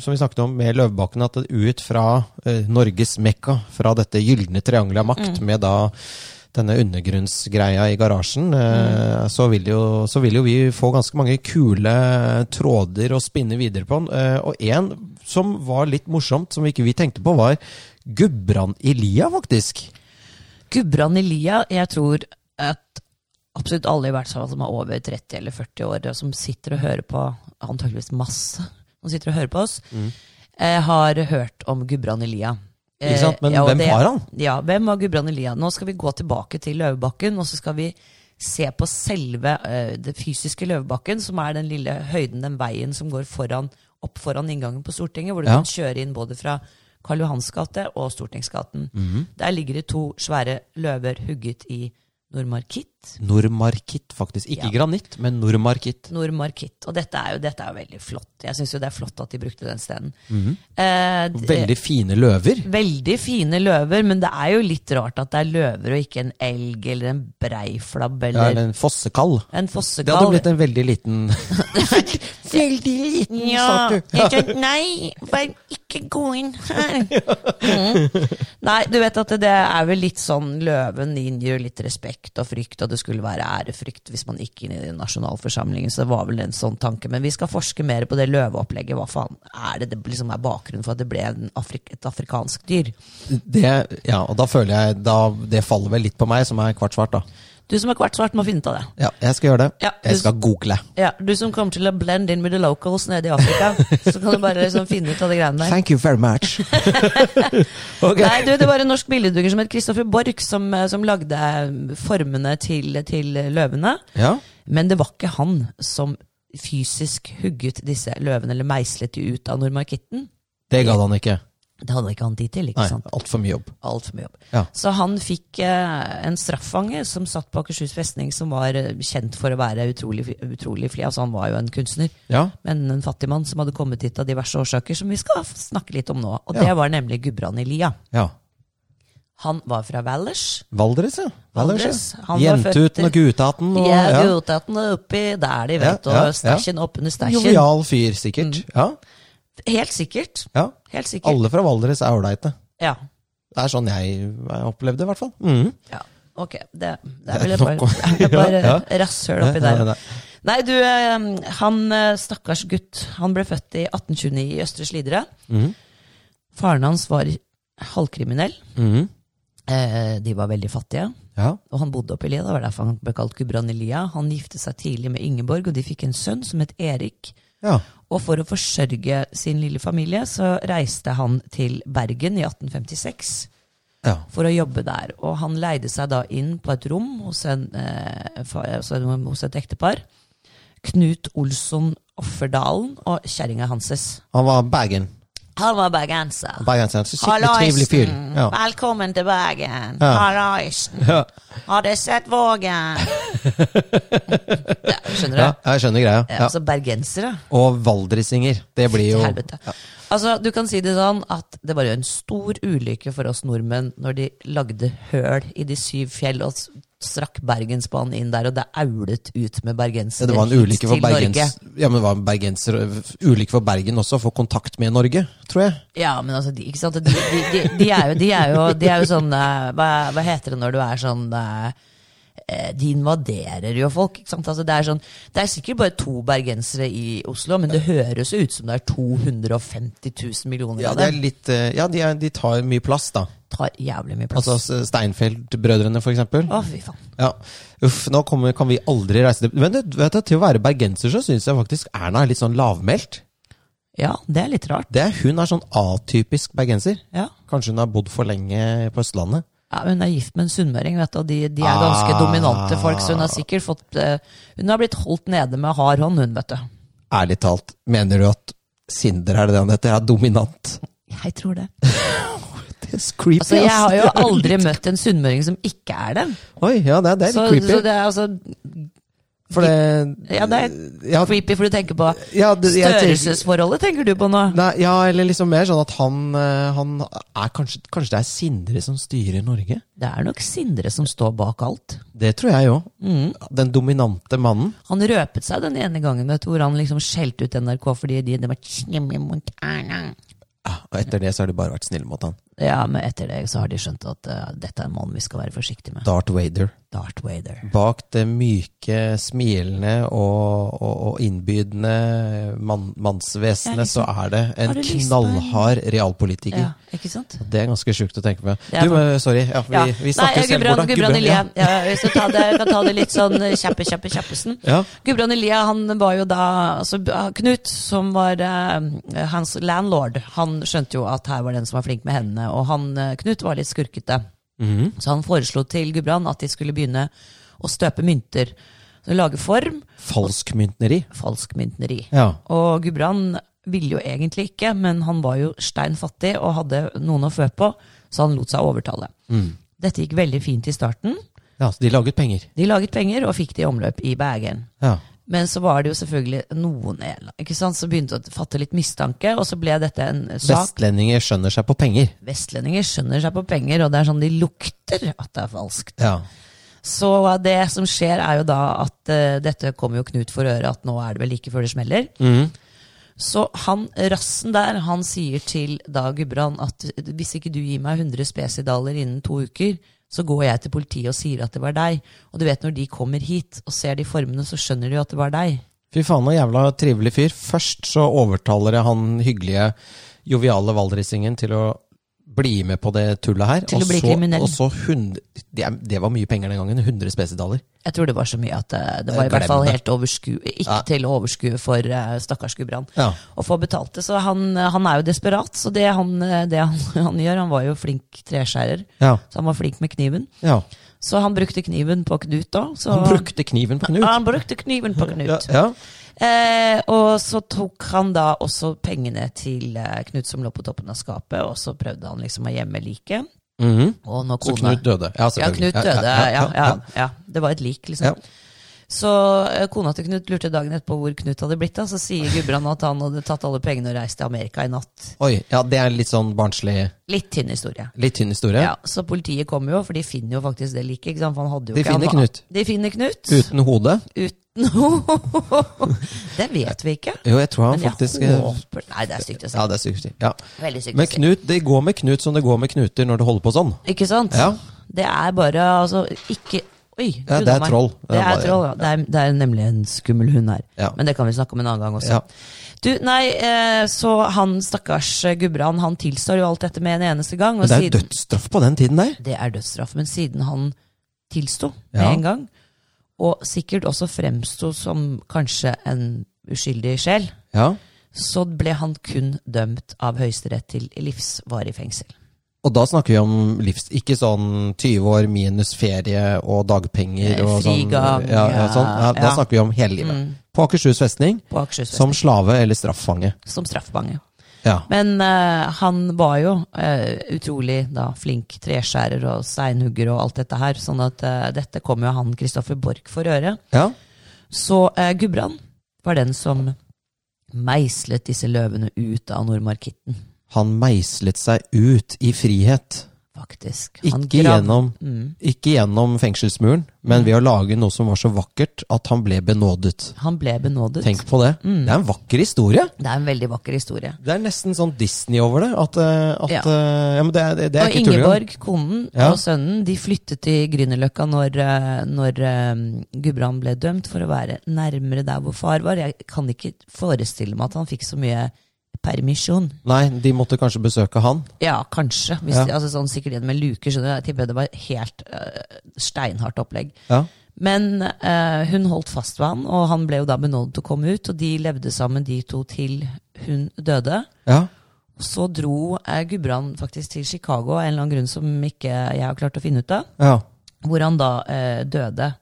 Speaker 1: som vi snakket om med Løvebakken, at
Speaker 2: Mm.
Speaker 1: ut fra eh, Norges Mekka, fra dette gylne triangelet av makt, med da denne undergrunnsgreia i garasjen, eh,
Speaker 2: Mm.
Speaker 1: så, vil jo, så vil jo vi få ganske mange kule tråder å spinne videre på. Eh, og en som var litt morsomt, som ikke vi tenkte på, var Gudbrand Elia, faktisk.
Speaker 2: Gudbrand Elia, jeg tror at absolutt alle i hvert fall som er over 30 eller 40 år, og som sitter og hører på, antakeligvis masse, som sitter og hører på oss,
Speaker 1: Mm.
Speaker 2: eh, har hørt om Gudbrand Elia. Eh,
Speaker 1: Ikke sant? Men
Speaker 2: og
Speaker 1: hvem var han?
Speaker 2: Ja, hvem var Gudbrand Elia? Nå skal vi gå tilbake til Løvebakken, og så skal vi se på selve eh, det fysiske Løvebakken, som er den lille høyden, den veien som går foran, opp foran inngangen på Stortinget, hvor du
Speaker 1: Ja.
Speaker 2: kan kjøre inn både fra Karl Johans gate og Stortingsgaten.
Speaker 1: Mhm.
Speaker 2: Der ligger det to svære løver hugget i Nordmarkitt.
Speaker 1: Normarkitt, faktisk. Ikke
Speaker 2: Ja.
Speaker 1: granitt, men Normarkitt.
Speaker 2: Nordmarkitt. Og dette er jo, dette er jo veldig flott. Jeg syns jo det er flott at de brukte den steden.
Speaker 1: Mhm.
Speaker 2: Eh, d-
Speaker 1: Veldig fine løver.
Speaker 2: Veldig fine løver, men det er jo litt rart at det er løver og ikke en elg eller en breiflabb
Speaker 1: Ja,
Speaker 2: eller
Speaker 1: eller en fossekall.
Speaker 2: en
Speaker 1: Det hadde
Speaker 2: fossekall.
Speaker 1: blitt en veldig liten Veldig liten,
Speaker 2: Ja,
Speaker 1: sa du.
Speaker 2: jeg tror, nei, bare ikke gå inn her. Mm. Nei, du vet at det- det er vel litt sånn Løven inngir jo litt respekt og frykt, og det skulle være ærefrykt hvis man gikk inn i den nasjonalforsamlingen, så det var vel en sånn tanke. Men vi skal forske mer på det løveopplegget. Hva faen er det det liksom er bakgrunnen for at det ble en Afrik et afrikansk dyr?
Speaker 1: Det, ja, og da føler jeg da, Det faller vel litt på meg, som er kvart svart, da.
Speaker 2: Du som er kvart svart, må finne ut av det.
Speaker 1: Ja, jeg skal gjøre det.
Speaker 2: Ja, du-
Speaker 1: jeg skal google.
Speaker 2: Ja, Du som kommer til å blend in with the locals nede i Afrika, så kan du bare liksom finne ut av de greiene der.
Speaker 1: Thank you very much. Ok.
Speaker 2: Nei, du, det var en norsk billedhugger som het Kristoffer Borch, som, eh, som lagde eh, formene til, til eh, løvene.
Speaker 1: Ja.
Speaker 2: Men det var ikke han som fysisk hugget disse løvene, eller meislet de ut av Nordmarkitten.
Speaker 1: Det gadd han ikke.
Speaker 2: Det hadde ikke han tid til, ikke
Speaker 1: Nei,
Speaker 2: sant?
Speaker 1: Altfor mye jobb.
Speaker 2: Alt for mye jobb.
Speaker 1: Ja.
Speaker 2: Så han fikk eh, en straffange som satt på Akershus festning, som var eh, kjent for å være utrolig, fi- utrolig flid. Altså, han var jo en kunstner,
Speaker 1: Ja.
Speaker 2: men en fattig mann som hadde kommet hit av diverse årsaker, som vi skal f- snakke litt om nå. Og
Speaker 1: Ja.
Speaker 2: det var nemlig Gudbrand Elia.
Speaker 1: ja.
Speaker 2: Han var fra Valers.
Speaker 1: Valdres, ja.
Speaker 2: Valdres.
Speaker 1: Valdres, ja.
Speaker 2: Han var født i-
Speaker 1: Jenteuten og guthatten. Og,
Speaker 2: Ja,
Speaker 1: ja.
Speaker 2: gulrøttene oppi der de vet,
Speaker 1: Ja, ja, ja.
Speaker 2: og stæsjen oppunder stæsjen.
Speaker 1: Jovial fyr, sikkert.
Speaker 2: Mm.
Speaker 1: Ja.
Speaker 2: Helt sikkert.
Speaker 1: ja.
Speaker 2: Helt sikkert.
Speaker 1: Alle fra Valdres er ålreite.
Speaker 2: Ja.
Speaker 1: Det er sånn jeg jeg opplevde det, i hvert fall. Mhm.
Speaker 2: ja. Ok, det, det er vel
Speaker 1: Det er
Speaker 2: bare,
Speaker 1: nok å-
Speaker 2: det er bare
Speaker 1: Ja,
Speaker 2: rasshøl
Speaker 1: Nei,
Speaker 2: oppi der.
Speaker 1: nei, nei.
Speaker 2: Nei, du, eh, han eh, stakkars gutt, han ble født i 1829 i Østre Slidre.
Speaker 1: Mm,
Speaker 2: Faren hans var halvkriminell.
Speaker 1: Mhm.
Speaker 2: Eh, De var veldig fattige.
Speaker 1: Ja.
Speaker 2: Og han bodde oppi Lia, det var derfor han ble kalt Gudbrand Elia. Han gifte seg tidlig med Ingeborg, og de fikk en sønn som het Erik.
Speaker 1: ja.
Speaker 2: Og for å forsørge sin lille familie, så reiste han til Bergen i 1856
Speaker 1: Ja.
Speaker 2: for å jobbe der. Og han leide seg da inn på et rom hos, en, eh, fa- altså hos et ektepar. Knut Olsson Offerdalen og kjerringa hanses.
Speaker 1: Han var Bergen.
Speaker 2: Han var bergenser.
Speaker 1: Bergenser. Så skikkelig trivelig fyr.
Speaker 2: Mm.
Speaker 1: Ja.
Speaker 2: Velkommen til Bergen.
Speaker 1: Ja.
Speaker 2: Hallaisen.
Speaker 1: Ja.
Speaker 2: Har du sett Vågen? ja, skjønner du?
Speaker 1: ja, jeg skjønner greia.
Speaker 2: Eh,
Speaker 1: Ja.
Speaker 2: Altså bergensere.
Speaker 1: Og valdrisinger. Det blir jo
Speaker 2: Til helvete. Altså, du kan si det sånn at det var jo en stor ulykke for oss nordmenn når de lagde høl i de syv fjell og s- strakk Bergensbanen inn der, og det aulet ut med
Speaker 1: Ja,
Speaker 2: bergensere
Speaker 1: det var en
Speaker 2: hit
Speaker 1: ulykke for
Speaker 2: til Norge.
Speaker 1: Bergens, ja, men det var en bergenser, ulykke for Bergen også, å få kontakt med Norge, tror jeg.
Speaker 2: Ja, men altså, de, ikke sant? De, de, de, de, er, jo, de, er, jo, de er jo sånn eh, hva, hva heter det når du er sånn eh, eh, De invaderer jo folk, ikke sant? Altså, det, er sånn, det er sikkert bare to bergensere i Oslo, men det høres jo ut som det er 250 000 millioner
Speaker 1: Ja,
Speaker 2: av
Speaker 1: det er
Speaker 2: dem.
Speaker 1: litt, eh, ja de, er, de tar mye plass, da.
Speaker 2: Tar jævlig mye plass.
Speaker 1: Altså S- Steinfeld-brødrene, for eksempel.
Speaker 2: Å, fy faen.
Speaker 1: Ja. Uff, nå kommer, kan vi aldri reise til Men det, vet du, til å være bergenser, så syns jeg faktisk Erna er litt sånn lavmælt.
Speaker 2: Ja, det er litt rart.
Speaker 1: Det er- Hun er sånn atypisk bergenser.
Speaker 2: Ja.
Speaker 1: Kanskje hun har bodd for lenge på Østlandet.
Speaker 2: Ja, hun er gift med en sunnmøring, vet du, og de, de er ganske
Speaker 1: Ah.
Speaker 2: dominante folk, så hun har sikkert fått eh, Hun har blitt holdt nede med hard hånd, hun, vet du.
Speaker 1: Ærlig talt, mener du at Sinder er det det han heter? Er dominant?
Speaker 2: Jeg tror det.
Speaker 1: Det er creepy,
Speaker 2: Altså, jeg
Speaker 1: ass.
Speaker 2: har jo
Speaker 1: Det er litt-
Speaker 2: aldri møtt en sunnmøring som ikke er det.
Speaker 1: Oi, ja, det er, det er litt
Speaker 2: Så,
Speaker 1: creepy.
Speaker 2: så det er altså
Speaker 1: for det
Speaker 2: Ja, det er
Speaker 1: ja,
Speaker 2: creepy, for du tenker på
Speaker 1: Ja, det- jeg tenker-
Speaker 2: størrelsesforholdet, tenker du på nå?
Speaker 1: Nei, ja, eller liksom mer sånn at han, eh, han er kanskje, kanskje det er Sindre som styrer Norge?
Speaker 2: Det er nok Sindre som står bak alt.
Speaker 1: Det tror jeg jo.
Speaker 2: Mm.
Speaker 1: Den dominante mannen.
Speaker 2: Han røpet seg den ene gangen vet du, hvor han liksom skjelte ut NRK fordi de, de var slemme mot Erna.
Speaker 1: Ja, Og etter det så har de bare vært snille mot han.
Speaker 2: Ja, men etter det så har de skjønt at eh, dette er en mann vi skal være forsiktige med.
Speaker 1: Darth Vader.
Speaker 2: Darth Vader.
Speaker 1: Bak det myke, smilende og, og, og innbydende mann,
Speaker 2: Ja,
Speaker 1: mannsvesenet,
Speaker 2: liksom.
Speaker 1: så er det en
Speaker 2: Har du lyst på en-
Speaker 1: knallhard realpolitiker.
Speaker 2: Ja, ikke sant?
Speaker 1: Det er ganske sjukt å tenke på.
Speaker 2: Det er sånn.
Speaker 1: Du, men, sorry. Ja, vi,
Speaker 2: Ja.
Speaker 1: vi snakkes
Speaker 2: Nei,
Speaker 1: helt
Speaker 2: Gudbrand,
Speaker 1: bort. da.
Speaker 2: Gudbrand Elia.
Speaker 1: ja.
Speaker 2: Ja. jeg skal ta det, jeg kan ta det litt sånn eh, kjappe, kjappe, kjappesen.
Speaker 1: Ja.
Speaker 2: Gudbrand Elia han var jo da altså, b- Knut, som var eh, hans landlord, han skjønte jo at her var den som var flink med hendene. Og han, eh, Knut var litt skurkete. Så han foreslo til Gudbrand at de skulle begynne å støpe mynter. Så Lage form.
Speaker 1: Falskmyntneri.
Speaker 2: Falskmyntneri.
Speaker 1: Ja.
Speaker 2: Og Gudbrand ville jo egentlig ikke, men han var jo stein fattig og hadde noen å fø på, så han lot seg overtale. Dette gikk veldig fint i starten.
Speaker 1: ja, så de laget penger.
Speaker 2: De laget penger og fikk det i omløp i Bergen.
Speaker 1: Ja.
Speaker 2: Men så var det jo selvfølgelig noen ikke sant, som begynte å fatte litt mistanke, og så ble dette en sak.
Speaker 1: Vestlendinger skjønner seg på penger.
Speaker 2: Vestlendinger skjønner seg på penger, og det er sånn de lukter at det er falskt.
Speaker 1: Ja.
Speaker 2: Så det som skjer, er jo da at eh, dette kommer jo Knut for øre, at nå er det vel like før det smeller.
Speaker 1: Mhm.
Speaker 2: Så han rassen der, han sier til da Gudbrand at hvis ikke du gir meg 100 spesidaler innen to uker, så går jeg til politiet og sier at det var deg. Og du vet når de kommer hit og ser de formene, så skjønner de jo at det var deg.
Speaker 1: Fy faen, en jævla trivelig fyr. Først så overtaler jeg han hyggelige, joviale valdrisingen til å bli med på det tullet her.
Speaker 2: Til å
Speaker 1: og
Speaker 2: bli
Speaker 1: så,
Speaker 2: kriminell.
Speaker 1: Og så hund, det, er- det var mye penger den gangen. 100 spesidaler.
Speaker 2: Jeg tror det var så mye at det, det var i
Speaker 1: Glem
Speaker 2: hvert fall
Speaker 1: det.
Speaker 2: helt overskue, ikke
Speaker 1: Ja.
Speaker 2: til å overskue for eh, stakkars Gudbrand
Speaker 1: Ja.
Speaker 2: å få betalt det. Så han, eh, han er jo desperat, så det han, eh, det han, han gjør Han var jo flink treskjærer,
Speaker 1: Ja.
Speaker 2: så han var flink med kniven.
Speaker 1: ja.
Speaker 2: Så han brukte kniven på Knut da. Så
Speaker 1: Han brukte kniven på Knut.
Speaker 2: Ja, han brukte kniven på Knut.
Speaker 1: Ja, ja.
Speaker 2: Eh, og så tok han da også pengene til eh, Knut som lå på toppen av skapet, og så prøvde han liksom å gjemme liket.
Speaker 1: Mhm.
Speaker 2: Og når
Speaker 1: Så
Speaker 2: kona-
Speaker 1: Knut døde. Ja,
Speaker 2: Ja,
Speaker 1: selvfølgelig.
Speaker 2: Knut døde. Ja, ja, ja,
Speaker 1: ja.
Speaker 2: Det var et lik, liksom.
Speaker 1: Ja.
Speaker 2: Så eh, kona til Knut lurte dagen etterpå hvor Knut hadde blitt. Da. Så sier Gudbrand at han hadde tatt alle pengene og reist til Amerika i natt.
Speaker 1: Oi, ja, det er litt sånn barnslig,
Speaker 2: Litt tynn historie.
Speaker 1: litt tynn historie.
Speaker 2: Ja, Så politiet kom jo, for de finner jo faktisk det liket. ikke sant? For han hadde jo
Speaker 1: De
Speaker 2: ikke, han
Speaker 1: finner
Speaker 2: var-
Speaker 1: Knut.
Speaker 2: De finner Knut.
Speaker 1: Uten hode.
Speaker 2: Uten Det vet vi ikke.
Speaker 1: Jo, jeg tror han
Speaker 2: Men jeg
Speaker 1: faktisk eh,
Speaker 2: håper Nei, det er stygt å si.
Speaker 1: Ja, det er sykt. Ja.
Speaker 2: Veldig sykt
Speaker 1: Men
Speaker 2: å si.
Speaker 1: Knut, det går med Knut som det går med knuter når du holder på sånn.
Speaker 2: Ikke sant?
Speaker 1: Ja.
Speaker 2: Det er bare altså ikke Oi,
Speaker 1: Ja,
Speaker 2: gud
Speaker 1: det er
Speaker 2: a meg.
Speaker 1: troll.
Speaker 2: Det er
Speaker 1: bare-
Speaker 2: troll, ja. Det er, det er nemlig en skummel hund her.
Speaker 1: Ja.
Speaker 2: Men det kan vi snakke om en annen gang også.
Speaker 1: Ja.
Speaker 2: Du, nei, eh, så han stakkars eh, Gudbrand, han tilstår jo alt dette med en eneste gang. og
Speaker 1: Men det er jo
Speaker 2: siden-
Speaker 1: dødsstraff på den tiden der.
Speaker 2: det er dødsstraff. Men siden han tilsto med
Speaker 1: Ja.
Speaker 2: en gang, og sikkert også fremsto som kanskje en uskyldig sjel,
Speaker 1: Ja.
Speaker 2: så ble han kun dømt av Høyesterett til livsvarig fengsel.
Speaker 1: Og da snakker vi om livs... Ikke sånn 20 år minus ferie og dagpenger og sånn.
Speaker 2: Frigang,
Speaker 1: Ja, ja, sånn. Ja, da
Speaker 2: Eh, ja. Mm.
Speaker 1: snakker vi om hele livet. På Akershus festning
Speaker 2: På Akershus
Speaker 1: Mm. som slave eller strafffange.
Speaker 2: som straffbange.
Speaker 1: Ja.
Speaker 2: Men eh, han var jo eh, utrolig da, flink treskjærer og steinhugger og alt dette her, sånn at eh, dette kom jo han Kristoffer Borch for øre.
Speaker 1: ja.
Speaker 2: Så eh, Gudbrand var den som meislet disse løvene ut av nordmarkitten,
Speaker 1: Han meislet seg ut i frihet.
Speaker 2: faktisk.
Speaker 1: Ikke,
Speaker 2: Han grav- Mm.
Speaker 1: gjennom, ikke gjennom fengselsmuren, men ved å lage noe som var så vakkert at han ble benådet.
Speaker 2: Han ble benådet.
Speaker 1: Tenk på det.
Speaker 2: Mm.
Speaker 1: Det er en vakker historie.
Speaker 2: Det er en veldig vakker historie.
Speaker 1: Det er nesten sånn Disney over det. At, eh, at
Speaker 2: Ja.
Speaker 1: eh, ja, men det, er- det, det er
Speaker 2: Og
Speaker 1: ikke tull engang.
Speaker 2: Ingeborg, konen
Speaker 1: Ja.
Speaker 2: og sønnen, de flyttet til Grünerløkka når, eh, når eh, Gudbrand ble dømt for å være nærmere der hvor far var. Jeg kan ikke forestille meg at han fikk så mye permisjon.
Speaker 1: Nei, de måtte kanskje besøke han.
Speaker 2: Ja, kanskje. Hvis
Speaker 1: Ja.
Speaker 2: De, altså sånn sikkert det med luker, skjønner du. Jeg tipper det var et helt eh, steinhardt opplegg.
Speaker 1: Ja.
Speaker 2: Men eh, hun holdt fast ved han, og han ble jo da benådet til å komme ut, og de levde sammen de to til hun døde.
Speaker 1: ja.
Speaker 2: Så dro eh, Gudbrand faktisk til Chicago av en eller annen grunn som ikke jeg har klart å finne ut av.
Speaker 1: Ja,
Speaker 2: Hvor han da eh, døde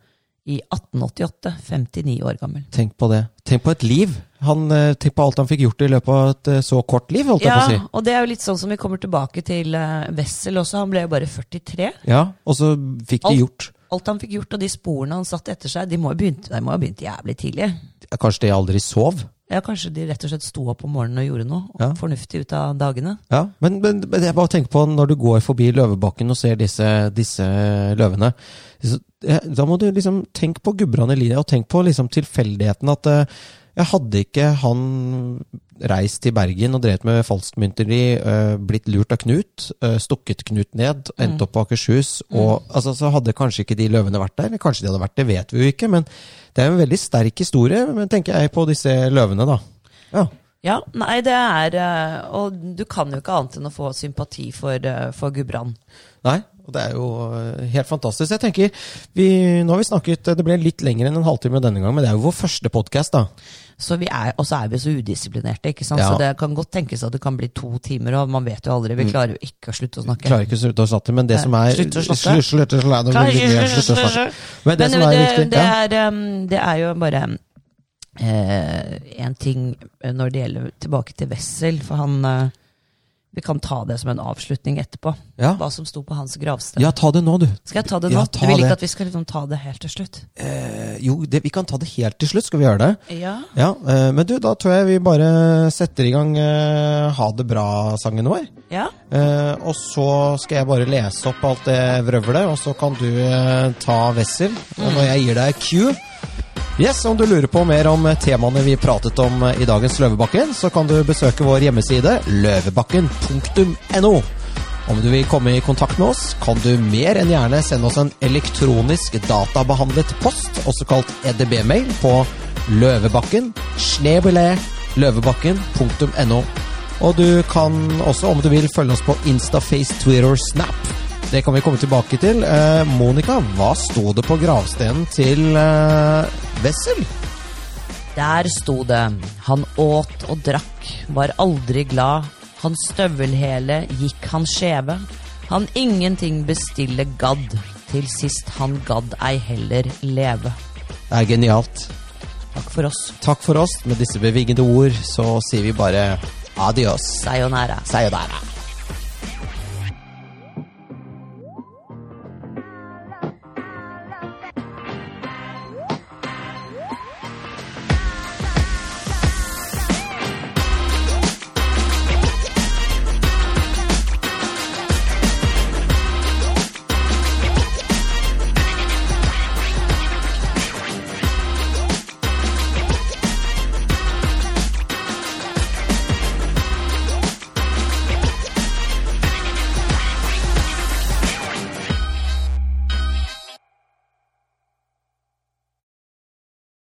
Speaker 2: i 1888, 59 år gammel.
Speaker 1: tenk på det. Tenk på et liv. Han, eh, tenk på alt han fikk gjort i løpet av et eh, så kort liv, holdt jeg
Speaker 2: Ja,
Speaker 1: på å si.
Speaker 2: og det er jo litt sånn som vi kommer tilbake til eh, Wessel også. Han ble jo bare 43.
Speaker 1: Ja, og så fikk de
Speaker 2: Alt.
Speaker 1: gjort
Speaker 2: Alt han fikk gjort, og de sporene han satt etter seg, de må jo begynt- de må ha begynt jævlig tidlig.
Speaker 1: ja, Kanskje de aldri sov?
Speaker 2: Ja, Kanskje de rett og slett sto opp om morgenen og gjorde noe
Speaker 1: Ja.
Speaker 2: fornuftig ut av dagene.
Speaker 1: Ja, men, men, men jeg bare tenker på når du går forbi Løvebakken og ser disse, disse løvene så, eh, Da må du liksom tenke på Gudbrand Elia, og tenk på liksom tilfeldigheten at eh, jeg hadde ikke han reist til Bergen og drevet med falskmynteri, eh, blitt lurt av Knut, eh, stukket Knut ned, endt opp på Akershus. Og, altså, så hadde kanskje ikke de løvene vært der. Kanskje de hadde vært det, vet vi jo ikke. Men det er en veldig sterk historie, men tenker jeg på disse løvene, da. Ja.
Speaker 2: Ja, nei, det er eh, Og du kan jo ikke annet enn å få sympati for, eh, for Gudbrand.
Speaker 1: Nei, og det er jo eh, helt fantastisk. Jeg tenker, vi, Nå har vi snakket, eh, det ble litt lenger enn en halvtime denne gang, men det er jo vår første podkast, da.
Speaker 2: Så vi er, og så er vi så udisiplinerte, ikke sant?
Speaker 1: Ja. Mm.
Speaker 2: så det kan godt tenkes at det kan bli to timer, og man vet jo aldri. Vi klarer jo ikke å slutte å snakke.
Speaker 1: Klarer ikke å slutte å slatte, men det
Speaker 2: Nei,
Speaker 1: som er
Speaker 2: slutt å slatte.
Speaker 1: Slutt- slutt å slatte.
Speaker 2: Klarer ikke å
Speaker 1: Slutt å slatte. Men det
Speaker 2: Men
Speaker 1: som er
Speaker 2: det,
Speaker 1: viktig
Speaker 2: det,
Speaker 1: ja.
Speaker 2: er, um, det er jo bare én ting eh, når det gjelder tilbake til Wessel, for han eh, Vi kan ta det som en avslutning etterpå,
Speaker 1: Ja.
Speaker 2: hva som sto på hans gravsted.
Speaker 1: ja, ta det nå, du.
Speaker 2: Skal jeg ta det nå?
Speaker 1: Ja, ta
Speaker 2: du vil
Speaker 1: det.
Speaker 2: ikke at vi skal liksom ta det helt til slutt?
Speaker 1: Eh, Jo, det, vi kan ta det helt til slutt. Skal vi gjøre det?
Speaker 2: Ja.
Speaker 1: Ja, eh, Men du, da tror jeg vi bare setter i gang eh, Ha det bra-sangen vår.
Speaker 2: ja.
Speaker 1: Eh, og så skal jeg bare lese opp alt det vrøvlet, og så kan du eh, ta Wessel
Speaker 2: Mm.
Speaker 1: og når jeg gir deg Q. Yes, Om du lurer på mer om eh, temaene vi pratet om eh, i dagens Løvebakken, så kan du besøke vår hjemmeside løvebakken.no. Om du vil komme i kontakt med oss, kan du mer enn gjerne sende oss en elektronisk databehandlet post, også kalt EDB-mail, på løvebakken snebelet løvebakken.no. Og du kan også, om du vil, følge oss på Instaface, Twitter og Snap. Det kan vi komme tilbake til. Eh, Monica, hva sto det på gravstenen til eh, Wessel?
Speaker 2: Der sto det Han åt og drakk, var aldri glad Hans støvelhæle gikk han skjeve Han ingenting bestille gadd Til sist han gadd ei heller leve
Speaker 1: Det er genialt.
Speaker 2: Takk for oss,
Speaker 1: Takk for oss. Med disse bevingede ord så sier vi bare adios.
Speaker 2: sayonara
Speaker 1: Sayonara.